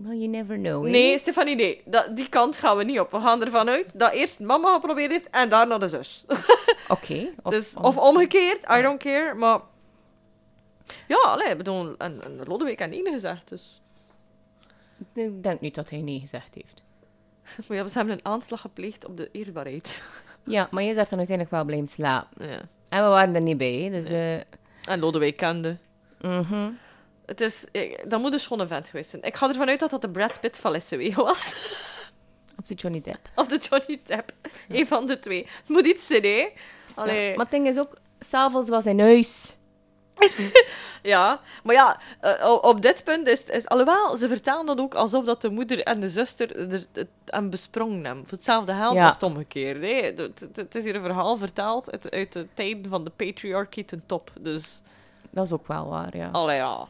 Well, you never know. hè?
Nee, Stefanie, nee. Dat, die kant gaan we niet op. We gaan ervan uit dat eerst mama geprobeerd heeft en daarna de zus.
Oké.
Of,
Of,
dus,
om-
of omgekeerd, I don't care. Maar ja, allee, ik bedoel, en, en Lodewijk en Ine gezegd. Dus.
Ik denk niet dat hij nee gezegd heeft.
Maar ja, ze hebben een aanslag gepleegd op de eerbaarheid.
Ja, maar je zegt dan uiteindelijk wel blijven slapen.
Ja.
En we waren er niet bij, hè, dus... eh,
En Lodewijk kende.
mhm.
Het is, ik- dat moet een schone vent geweest zijn. Ik ga ervan uit dat dat de Brad Pitt van SW was.
Of de Johnny Depp.
Of de Johnny Depp. Eén van de twee. Het moet iets zijn, hè? Allee.
Ja,
Ja,
Maar het ding is ook, s'avonds was hij huis.
maar ja, eh, o- op dit punt is, is... Alhoewel, ze vertalen dat ook alsof dat de moeder en de zuster er, het aan besprongen hebben. Voor hetzelfde geld
Ja.
als het omgekeerd. hè. Het- Het het is hier een verhaal vertaald uit, uit de tijden van de patriarchy ten top. Dus,
Dat is ook wel waar, ja.
allee, ja.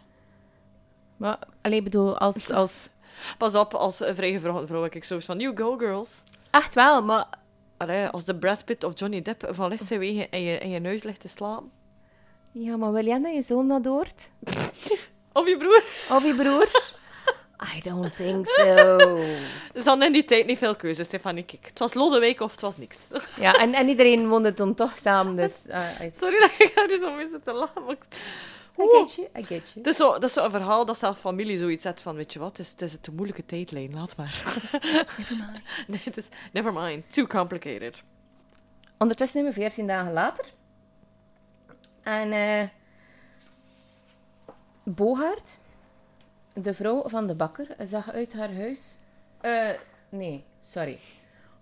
Maar, alleen bedoel, als, als...
Pas op, als eh, vrijgevroren vrouw heb ik zoiets van... You go, girls.
Echt wel, maar...
Allee, als de Brad Pitt of Johnny Depp van Lissewegen in je, in je neus ligt te slaan.
Ja, maar wil jij dat je zoon dat hoort?
Of je broer.
Of je broer? I don't think so.
Dus dan in die tijd niet veel keuze, Stefanie Kik. Het was Lodewijk of het was niks.
Ja, en, en iedereen woonde toen toch samen, dus... eh, I,
Sorry dat ik daar zo mee zit te lachen. maar ik-
I
Oeh.
get you, I get you.
Het is zo- dat is zo'n verhaal dat zelf familie zoiets zet van, weet je wat, het is, het is een te moeilijke tijdlijn, laat maar. Nee, het is, never mind, too complicated.
Ondertussen zijn we 14 dagen later. En eh Bogaert, de vrouw van de bakker, zag uit haar huis. Eh, nee, sorry.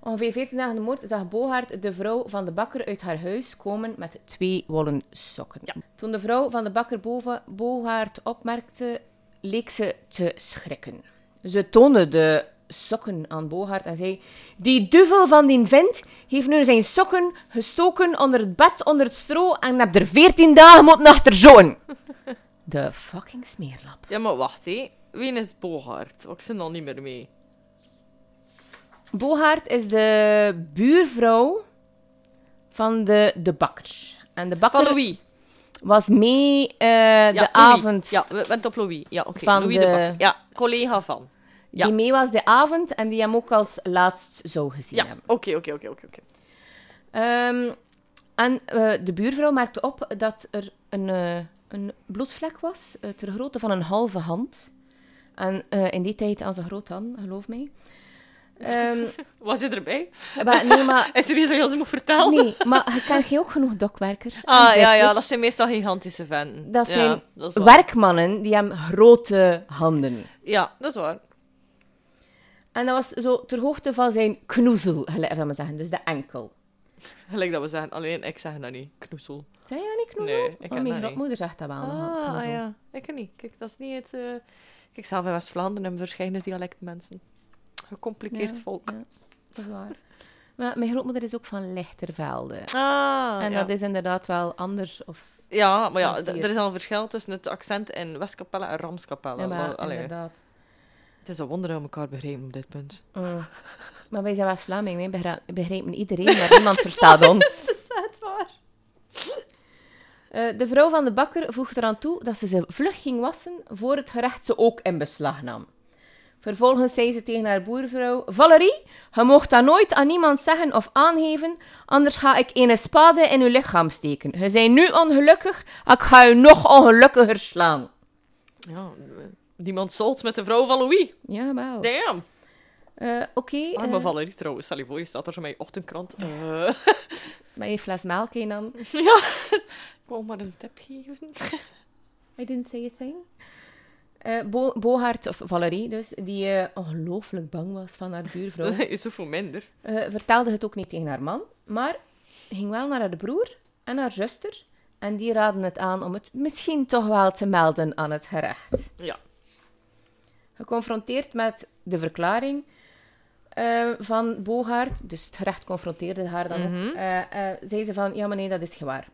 Ongeveer 14 dagen na de moord zag Bogaert de vrouw van de bakker uit haar huis komen met twee wollen sokken. Toen de vrouw van de bakker boven Bogaert opmerkte, leek ze te schrikken. Ze toonde de sokken aan Bogaert en zei: Die duvel van die vent heeft nu zijn sokken gestoken onder het bed, onder het stro en heb er 14 dagen moeten achter zoen. De fucking smeerlap.
Ja, maar wacht, hé. Wie is Bogaert? Ik zit al niet meer mee.
Bogaert is de buurvrouw van de, de bakker. En de bakker
Van Louis.
was mee eh, de
Ja, Louis.
avond.
Ja, we bent op Louis. Ja, oké.
Van
Louis de...
de-
Bakker. Ja, collega van. ja.
Die mee was de avond en die hem ook als laatst zou gezien
Ja,
hebben.
oké, oké, oké, oké. oké.
Ehm, en eh, de buurvrouw merkte op dat er een, eh, een bloedvlek was, eh, ter grootte van een halve hand. En eh, in die tijd aan zijn groot hand, geloof mij. Ehm,
Was je erbij?
maar, nee, maar,
Is er iets dat je ons moet vertellen?
nee, maar je kent jij ook genoeg Dus- dokwerkers. en
Ah, ja, ja,
zusters.
dat zijn meestal gigantische venten.
Dat
Ja,
zijn
dat is waar.
werkmannen die hebben grote handen.
Ja, dat is waar.
En dat was zo ter hoogte van zijn knoezel, gelijk van me zeggen, dus de enkel.
Gelijk dat we zeggen, alleen ik zeg dat niet. Knoesel.
Zijn jij niet knoezel?
Nee, ik ken
Oh,
dat
mijn
niet.
grootmoeder zegt dat wel.
Ah,
knoezel.
ja. Ik ken niet. Kijk, dat is niet het... eh, Kijk, zelf in West-Vlaanderen hebben verschillende dialecten mensen. Gecompliceerd
Ja,
volk.
ja. Dat is waar. Maar mijn grootmoeder is ook van Lichtervelde.
Ah, ja.
en dat is inderdaad wel anders. Of,
Ja, maar ja,
Dat
d-
zie je.
er is al een verschil tussen het accent in Westkapelle en Ramskapelle.
ja, maar
Dat- allee,
inderdaad.
het is een wonder dat we elkaar begrijpen op dit punt.
Mm. Maar wij zijn West-Vlaming, wij begrijpen, begrijpen iedereen, maar niemand verstaat ons.
Dat is net waar.
Eh, de vrouw van de bakker voegde eraan toe dat ze ze vlug ging wassen voor het gerecht ze ook in beslag nam. Vervolgens zei ze tegen haar boervrouw: Valerie, je mocht dat nooit aan niemand zeggen of aangeven, anders ga ik een spade in uw lichaam steken. Je bent nu ongelukkig, ik ga u nog ongelukkiger slaan.
Ja, niemand zolt met de vrouw van Louis.
Jawel.
Damn.
Eh, Oké,
Arme
eh,
Valerie trouwens. Stel je voor, je staat er zo met je ochtendkrant. Eh,
maar je fles melk in dan.
Ja, ik wou maar een tip geven.
I didn't say a thing. Eh Bo Bohart, of Valerie dus, die eh, ongelooflijk bang was van haar buurvrouw,
Dat is zoveel minder.
eh, vertelde het ook niet tegen haar man, maar ging wel naar haar broer en haar zuster En die raden het aan om het misschien toch wel te melden aan het gerecht.
Ja.
Geconfronteerd met de verklaring eh, van Bogaert, dus het gerecht confronteerde haar dan ook,
Mhm.
eh, eh, zei ze van, ja maar nee, dat is gewaar.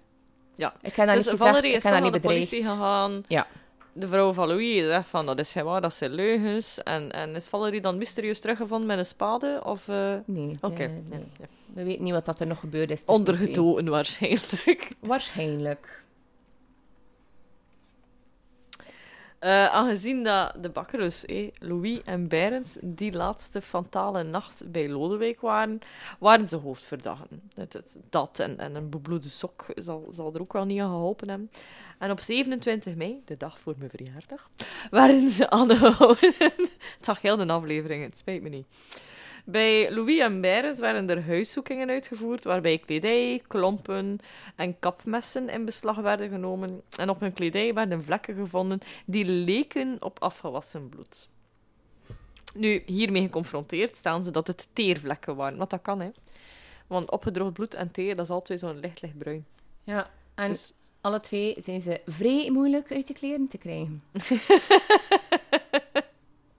Ja.
Ik kan dat
dus
Nou, niet gezegd,
Valerie
ik
is
kan
toch
dat
naar
niet
de
bedreigd.
politie gegaan.
Ja.
De vrouw van Louis zegt van dat is geen waar, dat zijn leugens. En, en is Valerie dan mysterieus teruggevonden met een spade? Of, eh,
Nee,
Oké,
eh,
ja,
nee.
ja.
we weten niet wat dat er nog gebeurd is. dus tussen die twee.
ondergedoken waarschijnlijk.
Waarschijnlijk.
Eh, aangezien dat de bakkerus, eh, Louis en Berends, die laatste fatale nacht bij Lodewijk waren, waren ze hoofdverdachten. Het, het- dat en, en een bebloede sok zal, zal er ook wel niet aan geholpen hebben. En op 27 mei, de dag voor mijn verjaardag, werden ze aangehouden. het zag heel de aflevering, het spijt me niet. Bij Louis en Berens werden er huiszoekingen uitgevoerd, waarbij kledij, klompen en kapmessen in beslag werden genomen. En op hun kledij werden vlekken gevonden die leken op afgewassen bloed. Nu, hiermee geconfronteerd staan ze dat het teervlekken waren, want dat kan hè. Want opgedroogd bloed en teer, dat is altijd zo'n licht lichtbruin.
Ja, en
Dus-
alle twee zijn ze vrij moeilijk uit de kleren te krijgen.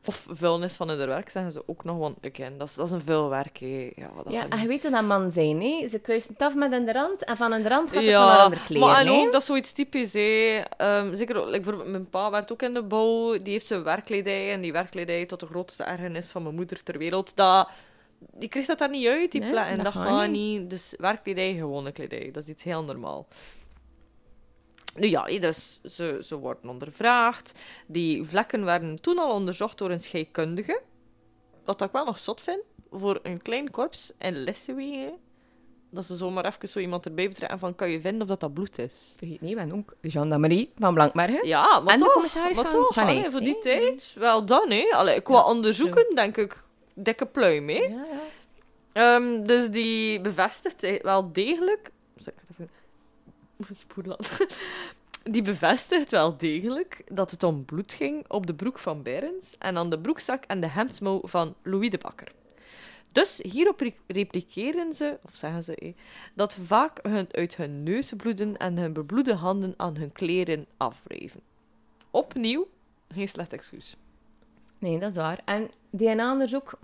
Of vuilnis van hun werk, zeggen ze ook nog, want again, dat is, dat is een vuil werk. hè. Ja, dat
ja,
gaat
en
niet.
je weet hoe dat man zijn, hè? Ze kuisen het af met een rand en van een rand gaat het
Ja,
dan naar ander kleren,
maar en
hè?
ook, dat is zoiets typisch. Hè. Ehm, zeker, ook, like, bijvoorbeeld mijn pa werkt ook in de bouw. Die heeft zijn werkkledij. En die werkkledij tot de grootste ergernis van mijn moeder ter wereld. Dat, die krijgt dat daar niet uit, die
Nee,
pla- En
dat
dat
gaat
gaat niet. Dus werkkledij, gewone kledij. Dat is iets heel normaal. Nu ja, hé, dus ze, ze worden ondervraagd. Die vlekken werden toen al onderzocht door een scheikundige. Wat ik wel nog zot vind, voor een klein korps in Lessewie, dat ze zomaar even zo iemand erbij betrekken van kan je vinden of dat dat bloed is.
Vergeet niet, we hebben ook Jean-Marie van Blankmergen.
Ja, maar
en de
toch,
commissaris
maar
van,
toch,
van
allee,
IJs,
voor
hè?
die tijd, wel dan hè. Allee, qua onderzoeken denk ik, dikke pluim hè.
Ja, ja.
Ehm, dus die bevestigt eh, wel degelijk. Sorry, ik had even- ik moest spoelen. Die bevestigt wel degelijk dat het om bloed ging op de broek van Berens en aan de broekzak en de hemdsmouw van Louis de Bakker. Dus hierop re- repliceren ze, of zeggen ze, eh, dat vaak hun uit hun neus bloeden en hun bebloede handen aan hun kleren afwreven. Opnieuw, geen slecht excuus.
Nee, dat is waar. En DNA-onderzoek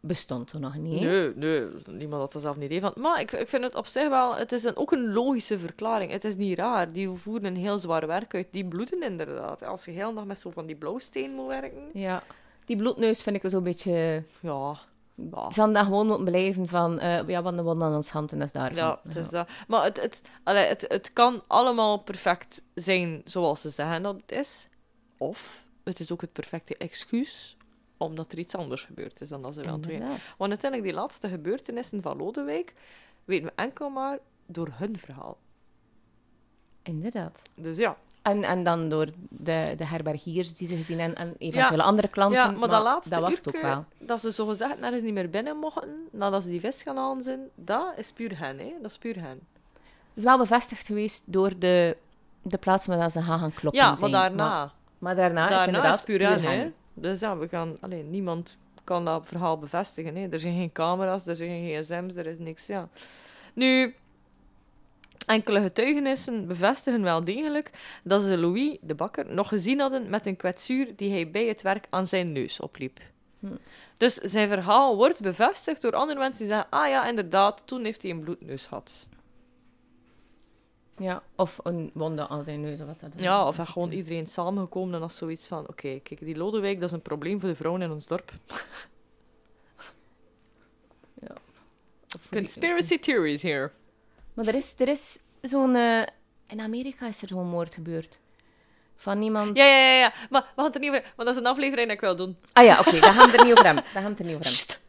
bestond toen nog niet, hè?
Nee, nee, niemand had er zelf een idee van. Maar ik, ik vind het op zich wel, het is een, ook een logische verklaring. Het is niet raar. Die voeren een heel zwaar werk uit. Die bloeden inderdaad. Als je heel de dag met zo van die blauwsteen moet werken.
Ja. Die bloedneus vind ik zo'n beetje...
Ja, ja.
Ze hadden daar gewoon moeten blijven van... eh, ja, want de wond aan ons hand en dat is daar.
Ja, het is dat. Maar het, het, allee, het, het kan allemaal perfect zijn zoals ze zeggen dat het is. Of het is ook het perfecte excuus omdat er iets anders gebeurd is dan dat ze wel doen. Want uiteindelijk, die laatste gebeurtenissen van Lodewijk weten we enkel maar door hun verhaal.
Inderdaad.
Dus ja.
En, en dan door de, de herbergiers die ze gezien hebben en eventuele andere klanten.
Ja, maar, dat laatste
dat was het ook
uurke,
wel.
dat ze zogezegd nergens niet meer binnen mochten, nadat ze die vis gaan halen zijn, dat is puur hen, hè. Dat is puur hen.
Het is wel bevestigd geweest door de, de plaats waar ze gaan gaan kloppen
ja, maar
zijn. Maar,
daarna.
maar daarna, Ah, is
daarna
inderdaad
is puur hen, hè.
hen.
Dus ja, we gaan... Allee, niemand kan dat verhaal bevestigen, hè. Er zijn geen camera's, er zijn geen gsm's, er is niks, ja. Nu... Enkele getuigenissen bevestigen wel degelijk dat ze Louis, de bakker, nog gezien hadden met een kwetsuur die hij bij het werk aan zijn neus opliep.
Hm.
Dus zijn verhaal wordt bevestigd door andere mensen die zeggen: Ah ja, inderdaad, toen heeft hij een bloedneus gehad.
Ja, of een wonde aan zijn neus of wat dat dan
Ja,
ook.
of echt gewoon iedereen samengekomen en als zoiets van: Oké, kijk, die Lodewijk, dat is een probleem voor de vrouwen in ons dorp.
Of-
Conspiracy theories here.
Maar er is, er is zo'n... eh, in Amerika is er zo'n moord gebeurd. Van iemand...
Ja, ja, ja, ja. maar we gaan het er niet over. Want dat is een aflevering dat ik wil doen.
Ah ja, oké, daar gaan we het er niet over hebben. Daar gaan we het er niet over hebben.
Sst.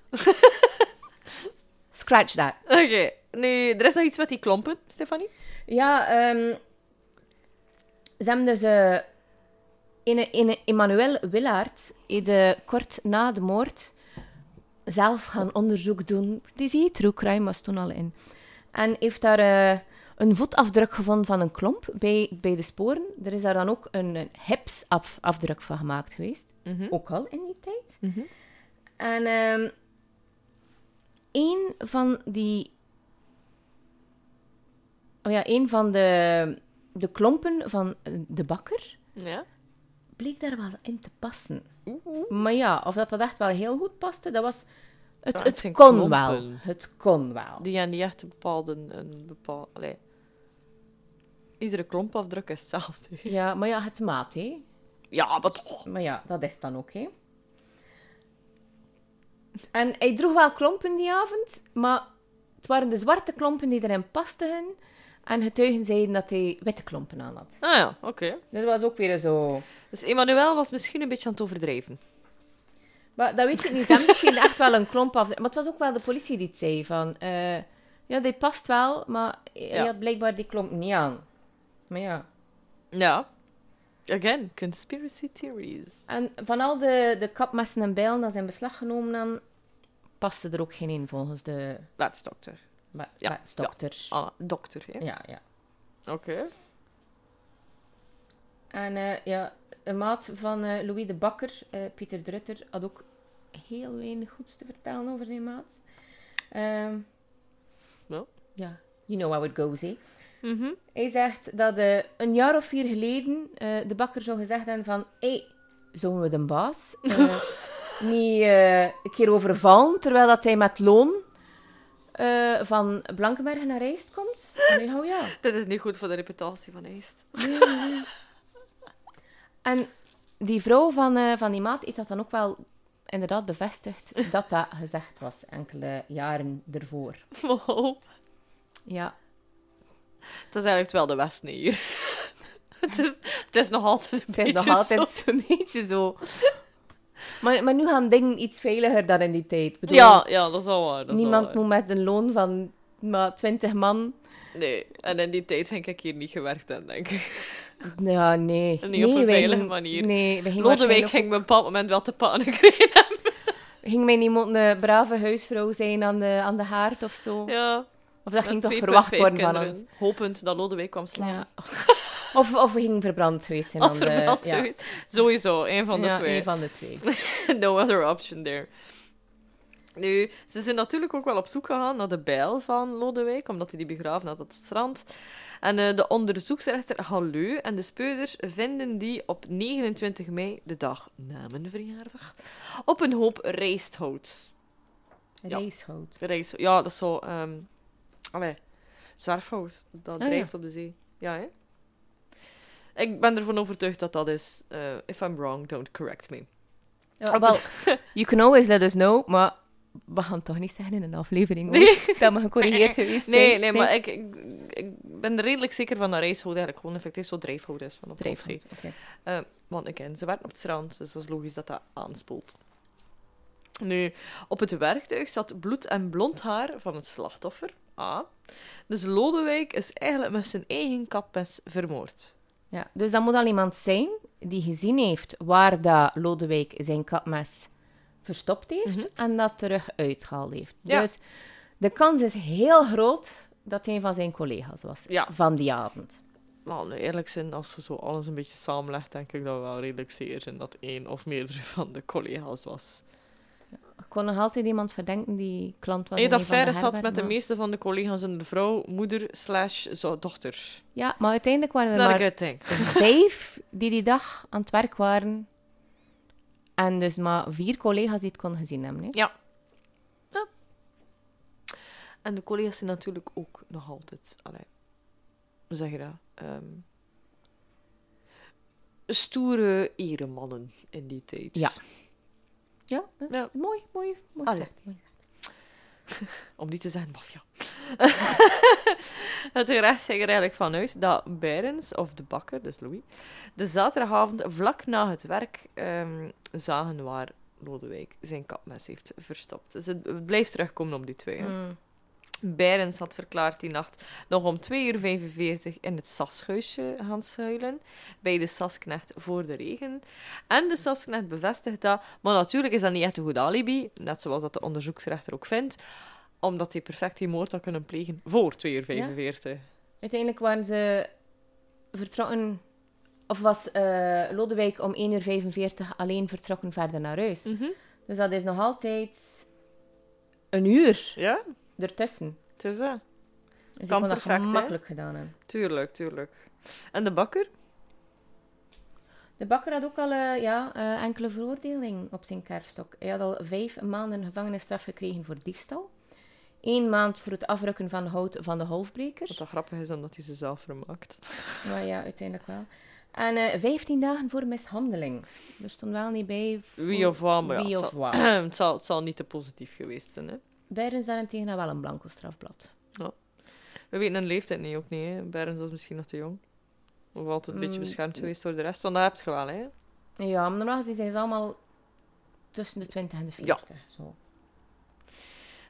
Scratch that.
Oké, nu, er is nog iets met die klompen, Stefanie.
Ja, ehm, ze hebben dus... eh, ene- ene Emmanuel Willaert heeft eh, kort na de moord zelf gaan onderzoek doen. Die zie je, true crime was toen al in. En heeft daar eh, een voetafdruk gevonden van een klomp bij, bij de sporen. Er is daar dan ook een, een hipsafdruk van gemaakt geweest.
Mhm.
Ook al in die tijd.
Mhm.
En ehm een van die oh ja, een van de, de klompen van eh, de bakker
Ja?
bleek daar wel in te passen.
Oeh.
Maar ja, of dat dat echt wel heel goed paste, dat was... Het,
Ja, het
het
zijn
kon
klompen.
wel. Het kon wel.
Die gaan niet echt een bepaalde... Een bepaal, allee. Iedere klompafdruk is hetzelfde.
Ja, maar ja, het maat, hè.
Ja, maar toch.
Maar ja, dat is dan ook, hè. En hij droeg wel klompen die avond, maar het waren de zwarte klompen die erin pasten. En getuigen zeiden dat hij witte klompen aan had.
Ah ja, oké.
Dus dat was ook weer zo...
Dus Emmanuel was misschien een beetje aan het overdrijven.
Maar dat weet ik niet. Dat misschien echt wel een klomp af. Maar het was ook wel de politie die het zei van... eh, ja, die past wel, maar hij
Ja.
had blijkbaar die klomp niet aan. Maar ja...
Ja. Again, conspiracy theories.
En van al de, de kapmessen en bijlen dat zijn beslag genomen dan paste er ook geen in volgens de
Laatst dokter.
ba-
Ja,
ba- dokter. Ja,
Ah, dokter, hè?
ja.
Oké.
En eh, ja, een maat van eh, Louis de Bakker, eh, Pieter Drutter, had ook heel weinig goeds te vertellen over die maat. Ehm,
Wel.
Ja, you know how it goes, hè.
Mhm.
Hij zegt dat eh, een jaar of vier geleden eh, de bakker zou gezegd hebben van... Hé, hey, zullen we de baas eh, niet eh, een keer overvallen, terwijl dat hij met loon eh, van Blankenbergen naar Rijst komt? En nu, oh ja.
Dit is niet goed voor de reputatie van Eest.
En die vrouw van, eh, van die maat heeft dat dan ook wel inderdaad bevestigd dat dat gezegd was enkele jaren ervoor.
Wow.
Ja.
Het is eigenlijk wel de Westen hier. het, is, het is nog altijd een
Het is
beetje
nog altijd een beetje zo. Maar, maar nu gaan dingen iets veiliger dan in die tijd. Ik
zo.
bedoel,
Ja, ja, dat is al waar. dat is
niemand
al waar.
moet met een loon van maar 20 man.
Nee, en in die tijd denk ik hier niet gewerkt aan, denk ik.
Ja, nee.
op
nee,
een
wij
veilige
gingen-
manier.
Nee, we gingen,
Lodewijk
waarschijnlijk-
ging me op een bepaald moment wel te pannen krijgen.
gingen wij niet moeten een brave huisvrouw zijn aan de, aan de haard of zo.
Ja,
Of Oh, dat
met
ging toch
2,5
verwacht worden van
kinderen.
ons. Nou
Hopend dat Lodewijk kwam slaan.
Ja. Of, of we gingen verbrand geweest zijn.
Al
aan de-
vermeld
ja.
geweest. Sowieso, één van de
Ja,
twee.
één van de twee.
no other option there. Nu, ze zijn natuurlijk ook wel op zoek gegaan naar de bijl van Lodewijk, omdat hij die begraven had op het strand. En eh, de onderzoeksrechter Halleu en de speurders vinden die op 29 mei, de dag na mijn verjaardag, op een hoop rijsthout. Ja.
Reishout.
Rijst, ja, dat is zo... ehm allee, zwerfhout. Dat
Ah, ja.
drijft op de zee. Ja, hè? Ik ben ervan overtuigd dat dat is... eh, if I'm wrong, don't correct me.
Ja,
Op
wel, you can always let us know, maar we gaan het toch niet zeggen in een aflevering hoor, dat we gecorrigeerd geweest zijn.
Nee, nee, maar ik, ik, ik ben er redelijk zeker van dat reishout eigenlijk gewoon effectief zo drijfhout is van op de
Drijfhout,
zee.
Oké.
Want ik ze werken op het strand, dus dat is logisch dat dat aanspoelt. Nu, op het werktuig zat bloed en blond haar van het slachtoffer, A. Dus Lodewijk is eigenlijk met zijn eigen kapmes vermoord.
Ja, dus dat moet al iemand zijn die gezien heeft waar dat Lodewijk zijn kapmes verstopt heeft en dat terug uitgehaald heeft.
Mhm. Ja.
Dus de kans is heel groot dat hij een van zijn collega's was
Ja.
van die avond.
Nou, laten we eerlijk zijn, als ze zo alles een beetje samenlegt, denk ik dat we wel redelijk zeker zijn dat één of meerdere van de collega's was.
Ik kon nog altijd iemand verdenken die klant was.
Eet
in een van de
affaire zat
herbergen,
met de
maar-
meeste van de collega's en de vrouw, moeder, slash, zo- dochter.
Ja, maar uiteindelijk waren er
Snel
maar
ik uitdenk.
vijf die die dag aan het werk waren. En dus maar vier collega's die het kon gezien hebben. Hè?
En de collega's zijn natuurlijk ook nog altijd, allee, hoe zeg je dat? Ehm, stoere eremannen in die tijd.
Ja. Ja, dat is
Ja.
mooi, mooi, mooi
Allee.
gezegd, mooi gezegd.
Om niet te zeggen maffia. het gerecht ging er eigenlijk vanuit dat Berens, of de bakker, dus Louis, de zaterdagavond vlak na het werk ehm, zagen waar Lodewijk zijn kapmes heeft verstopt. Dus het blijft terugkomen op die twee. hè.
Mm.
Berens had verklaard die nacht nog om 2 uur 45 in het Sashuisje gaan schuilen. Bij de Sasknecht voor de regen. En de Sasknecht bevestigt dat. Maar natuurlijk is dat niet echt een goed alibi. Net zoals dat de onderzoeksrechter ook vindt. Omdat hij perfect die moord had kunnen plegen voor 2 uur 45.
Uiteindelijk waren ze vertrokken, of was eh, Lodewijk om 1 uur 45 alleen vertrokken verder naar huis.
Mhm.
Dus dat is nog altijd een uur
Ja,
ertussen.
het is dat.
Dus
Kan
ik kon dat
perfect, hè?
gemakkelijk gedaan hebben.
Tuurlijk, tuurlijk. En de bakker?
De bakker had ook al eh, ja, eh, enkele veroordelingen op zijn kerfstok. Hij had al vijf maanden gevangenisstraf gekregen voor diefstal. Eén maand voor het afrukken van hout van de
Wat
halfbrekers.
dat grappig is, omdat hij ze zelf vermaakt.
Maar ja, uiteindelijk wel. En eh 15 dagen voor mishandeling. Er stond wel niet bij voor
Wie of wat, maar ja,
wie
het,
of
zal,
wat.
het, zal, het zal niet te positief geweest zijn. Hè?
Beirens daarentegen had wel een blanco strafblad.
We weten hun leeftijd niet, ook niet. Hè? Berens was misschien nog te jong. Of altijd een beetje
Mm.
beschermd geweest door de rest. Want dat heb je wel, hè.
Ja, maar normaal gezien zijn ze allemaal tussen de 20 en de 40. Zo.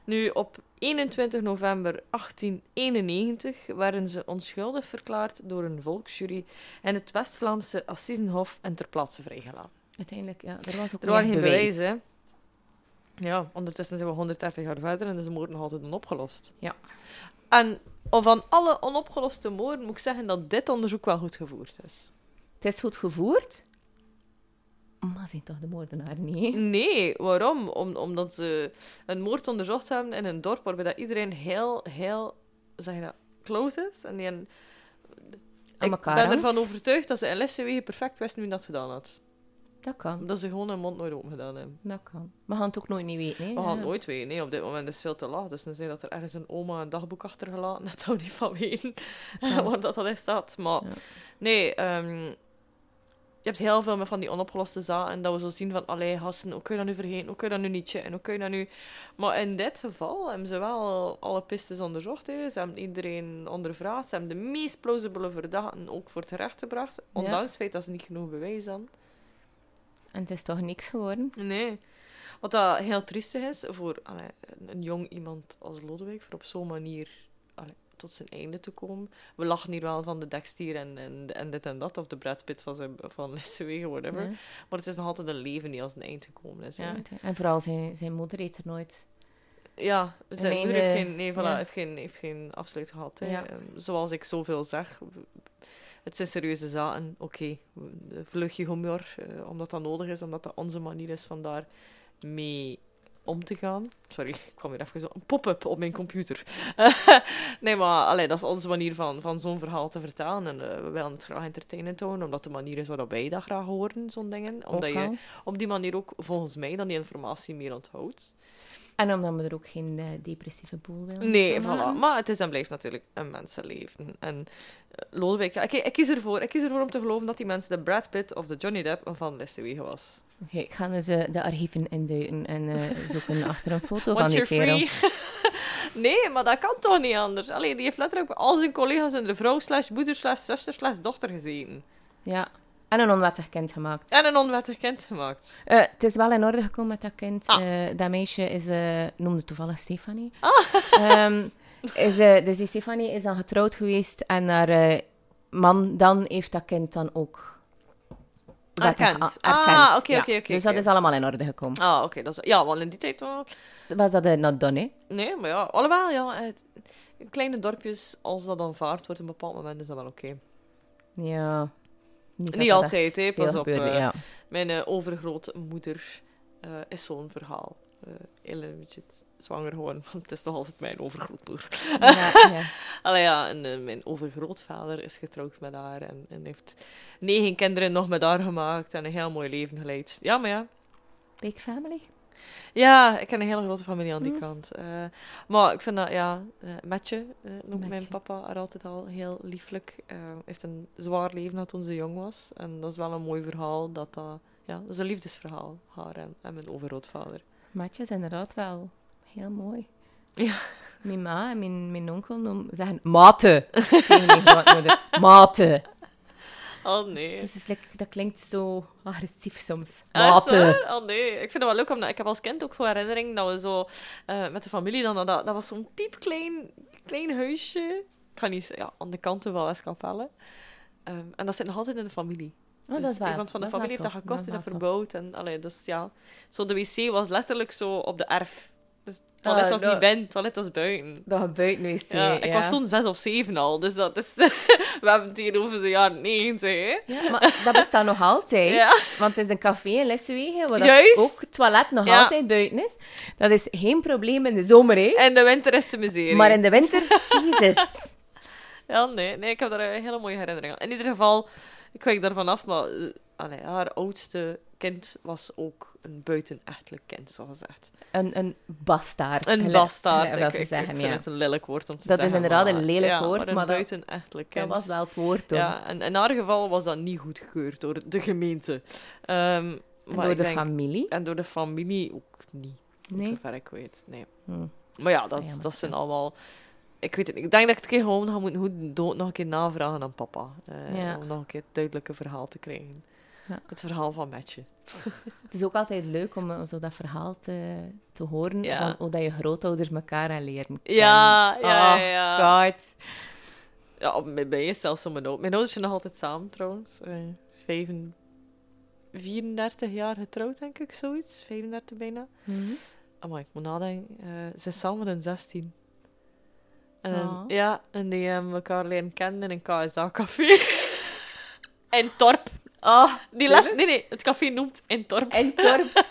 Nu, op 21 november 1891 werden ze onschuldig verklaard door een volksjury en het West-Vlaamse Assisenhof en ter plaatse vrijgelaten.
Uiteindelijk, ja, er was ook
Er waren
geen
geen bewijzen, hè. Ja, ondertussen zijn we 130 jaar verder en is de moord nog altijd onopgelost.
Ja.
En van alle onopgeloste moorden moet ik zeggen dat dit onderzoek wel goed gevoerd is.
Het is goed gevoerd, maar zijn toch de moordenaar niet? hè?
Nee, waarom? Om, omdat ze een moord onderzocht hebben in een dorp waarbij dat iedereen heel, heel, hoe zeg je dat, close is. En die een,
Aan
ik
elkaar
ben
hangt.
ervan overtuigd dat ze in Lessenwegen perfect wisten wie dat gedaan had.
Dat kan,
Dat ze gewoon hun mond nooit open gedaan hebben.
dat kan. We gaan het ook nooit niet weten. Hè?
We gaan
Ja.
het nooit weten. Nee, op dit moment is het veel te laat. Dus dan zei dat er ergens een oma een dagboek achtergelaten. Dat zou niet van weten
Ja.
waar dat, dat in staat. Maar
Ja.
nee, ehm, je hebt heel veel met van die onopgeloste zaken. En dat we zo zien van, allee, gasten, hoe kun je dat nu vergeten? Hoe kun je dat nu niet checken? Hoe kun je dat nu... Maar in dit geval hebben ze wel alle pistes onderzocht. Hè. Ze hebben iedereen ondervraagd. Ze hebben de meest plausibele verdachten ook voor het recht gebracht. Ondanks het feit dat ze niet genoeg bewijs hadden.
En het is toch niks geworden?
Nee. Wat dat heel triestig is voor allee, een, een jong iemand als Lodewijk, voor op zo'n manier allee, tot zijn einde te komen. We lachen hier wel van de Dexter en, en, en dit en dat, of de Brad Pitt van, zijn, van Lissewegen, whatever.
Ja.
Maar het is nog altijd een leven die als een eind gekomen is.
Ja,
Ja,
het- en vooral zijn, zijn moeder eet er nooit.
ja zijn
Een
moeder
einde-
heeft geen, nee, voilà,
eh, ja.
heeft geen, heeft geen afsluit gehad. Hè.
Ja.
Ehm, Zoals ik zoveel zeg, w- het zijn serieuze zaken. Oké, vlugje vlug je humor, eh, omdat dat nodig is, omdat dat onze manier is van daar mee om te gaan. Sorry, ik kwam weer even zo een pop-up op mijn computer. nee, maar allee, dat is onze manier van, van zo'n verhaal te vertellen. En eh, we willen het graag entertainend houden, omdat de manier is waarop wij dat graag horen, zo'n dingen. Omdat
ook
je
al.
op die manier ook, volgens mij, dan die informatie meer onthoudt.
En omdat we er ook geen eh, depressieve boel willen.
Nee,
van
voilà.
maken.
Maar het is en blijft natuurlijk een mensenleven. En eh, Lodewijk, ja, ik, ik, kies ervoor, ik kies ervoor om te geloven dat die mensen de Brad Pitt of de Johnny Depp van Lessewegen was.
Oké, ik ga dus eh, de archieven induiken en eh, zoeken achter een foto van
Once
die kerel.
you're free. nee, maar dat kan toch niet anders. Allee, die heeft letterlijk al zijn collega's en de vrouw slash moeder slash zuster slash dochter gezeten.
Ja. En een onwettig kind gemaakt.
En een onwettig kind gemaakt.
Eh, het is wel in orde gekomen met dat kind.
Ah.
Eh, dat meisje is, eh, noemde toevallig Stefanie. Ehm, is, eh, dus die Stefanie is dan getrouwd geweest en haar eh, man dan heeft dat kind dan ook wettig
Erkend.
a- erkend,
Ah, oké,
ja.
oké, oké,
Dus
oké.
dat is allemaal in orde gekomen.
Ah, oké. dat is- ja, want in die tijd... wel-
Was dat een not done, hè?
Nee, maar ja. Allemaal, ja. het- kleine dorpjes, als dat aanvaard wordt op een bepaald moment, is dat wel oké.
Ja. Niet, dat
Niet
dat
altijd,
echt
hè,
veel
pas op,
gebeurde,
eh.
ja.
Mijn eh, overgrootmoeder eh, is zo'n verhaal. Eh heel een beetje t- zwanger geworden, want het is nog altijd mijn overgrootmoeder.
ja, ja.
Allee ja, en eh, mijn overgrootvader is getrouwd met haar en, en heeft negen kinderen nog met haar gemaakt en een heel mooi leven geleid. Ja, maar ja.
Big family.
Ja, ik ken een hele grote familie aan die
Mm.
kant. Eh, maar ik vind dat, ja, eh Metje eh, noemt mijn
Metje.
papa haar altijd al heel lieflijk. Eh, heeft een zwaar leven gehad toen ze jong was. En dat is wel een mooi verhaal. Dat, dat, ja, dat is een liefdesverhaal, haar en, en mijn overgrootvader.
Matje is inderdaad wel heel mooi.
Ja.
Mijn ma en mijn, mijn onkel noemen, zeggen mate tegen mijn grootmoeder. Mate.
Oh nee.
Dus het is like- dat klinkt zo agressief soms.
Ah, is het
Mate.
waar? Oh nee, ik vind het wel leuk, omdat ik heb als kind ook voor herinnering dat we zo eh, met de familie, dan, dat, dat was zo'n piepklein klein huisje. Ik ga niet zeggen, ja, aan de kanten van Westkapelle. Ehm, en dat zit nog altijd in de familie.
Oh, dat
Dus
is waar.
Iemand van de
Dat is
familie heeft
waar
dat
toch.
gekocht en dat
is waar
verbouwd. En, allee, dus, ja. Zo, de wc was letterlijk zo op de erf. Dus het toilet
Ah,
was
nou.
niet binnen, het toilet was buiten.
Dat gebeurt nu eens.
Ja,
hè,
ik was toen zes of zeven al, dus dat is... we hebben het hier over de jaren negentig, hè.
Ja, maar dat bestaat nog altijd.
Ja.
Want het is een café in Lessenwegen, waar dat
Juist.
ook het toilet nog
Ja.
altijd buiten is. Dat is geen probleem in de zomer, hè.
En de winter is de miserie.
Maar in de winter, jezus.
Ja, nee, nee, ik heb daar een hele mooie herinnering aan. In ieder geval, ik wijk daarvan af, maar eh, allee, haar oudste kind was ook een buitenechtelijk kind, zogezegd.
Een, een bastaard.
Een
Gelijk-
bastaard.
gelijk
Ik,
wel
ik,
ze
ik
zeggen,
vind
ja.
het een lelijk woord om te
Dat is
zeggen.
inderdaad een
maar-
lelijk
ja,
woord,
een
maar dat-
buitenechtelijk kind.
Dat was wel het woord toen.
Ja, en in haar geval was dat niet goedgekeurd door de gemeente. Ehm,
En
maar
door
ik
de
denk-
familie.
En door de familie ook niet, nee.
Nee.
zover ik weet. Nee.
Hm.
Maar ja,
Dat
dat,
is jammer,
dat zijn allemaal. Ik weet het niet. Ik denk dat ik het een keer gewoon ga moeten hoe dood nog een keer navragen aan papa. Eh,
Ja.
Om nog een keer het duidelijke verhaal te krijgen.
Ja.
Het verhaal van Metje.
Het is ook altijd leuk om eh, zo dat verhaal te, te horen
Ja.
van hoe dat je grootouders elkaar aan leren kennen.
Ja, ja,
Oh,
ja.
God.
Ja, bij mij is zelfs zo mijn ouders. Mijn ouders zijn nog altijd samen trouwens. Eh, vijfen- 34 jaar getrouwd, denk ik, zoiets. 35 bijna.
Hm.
Amai, ik moet nadenken. Eh, ze is samen in 16. En,
Ah.
Ja, en die hebben elkaar leren kennen in een KSA-café. in Torp.
Oh,
Die les, nee, nee, het café noemt in Torp.
en Torp.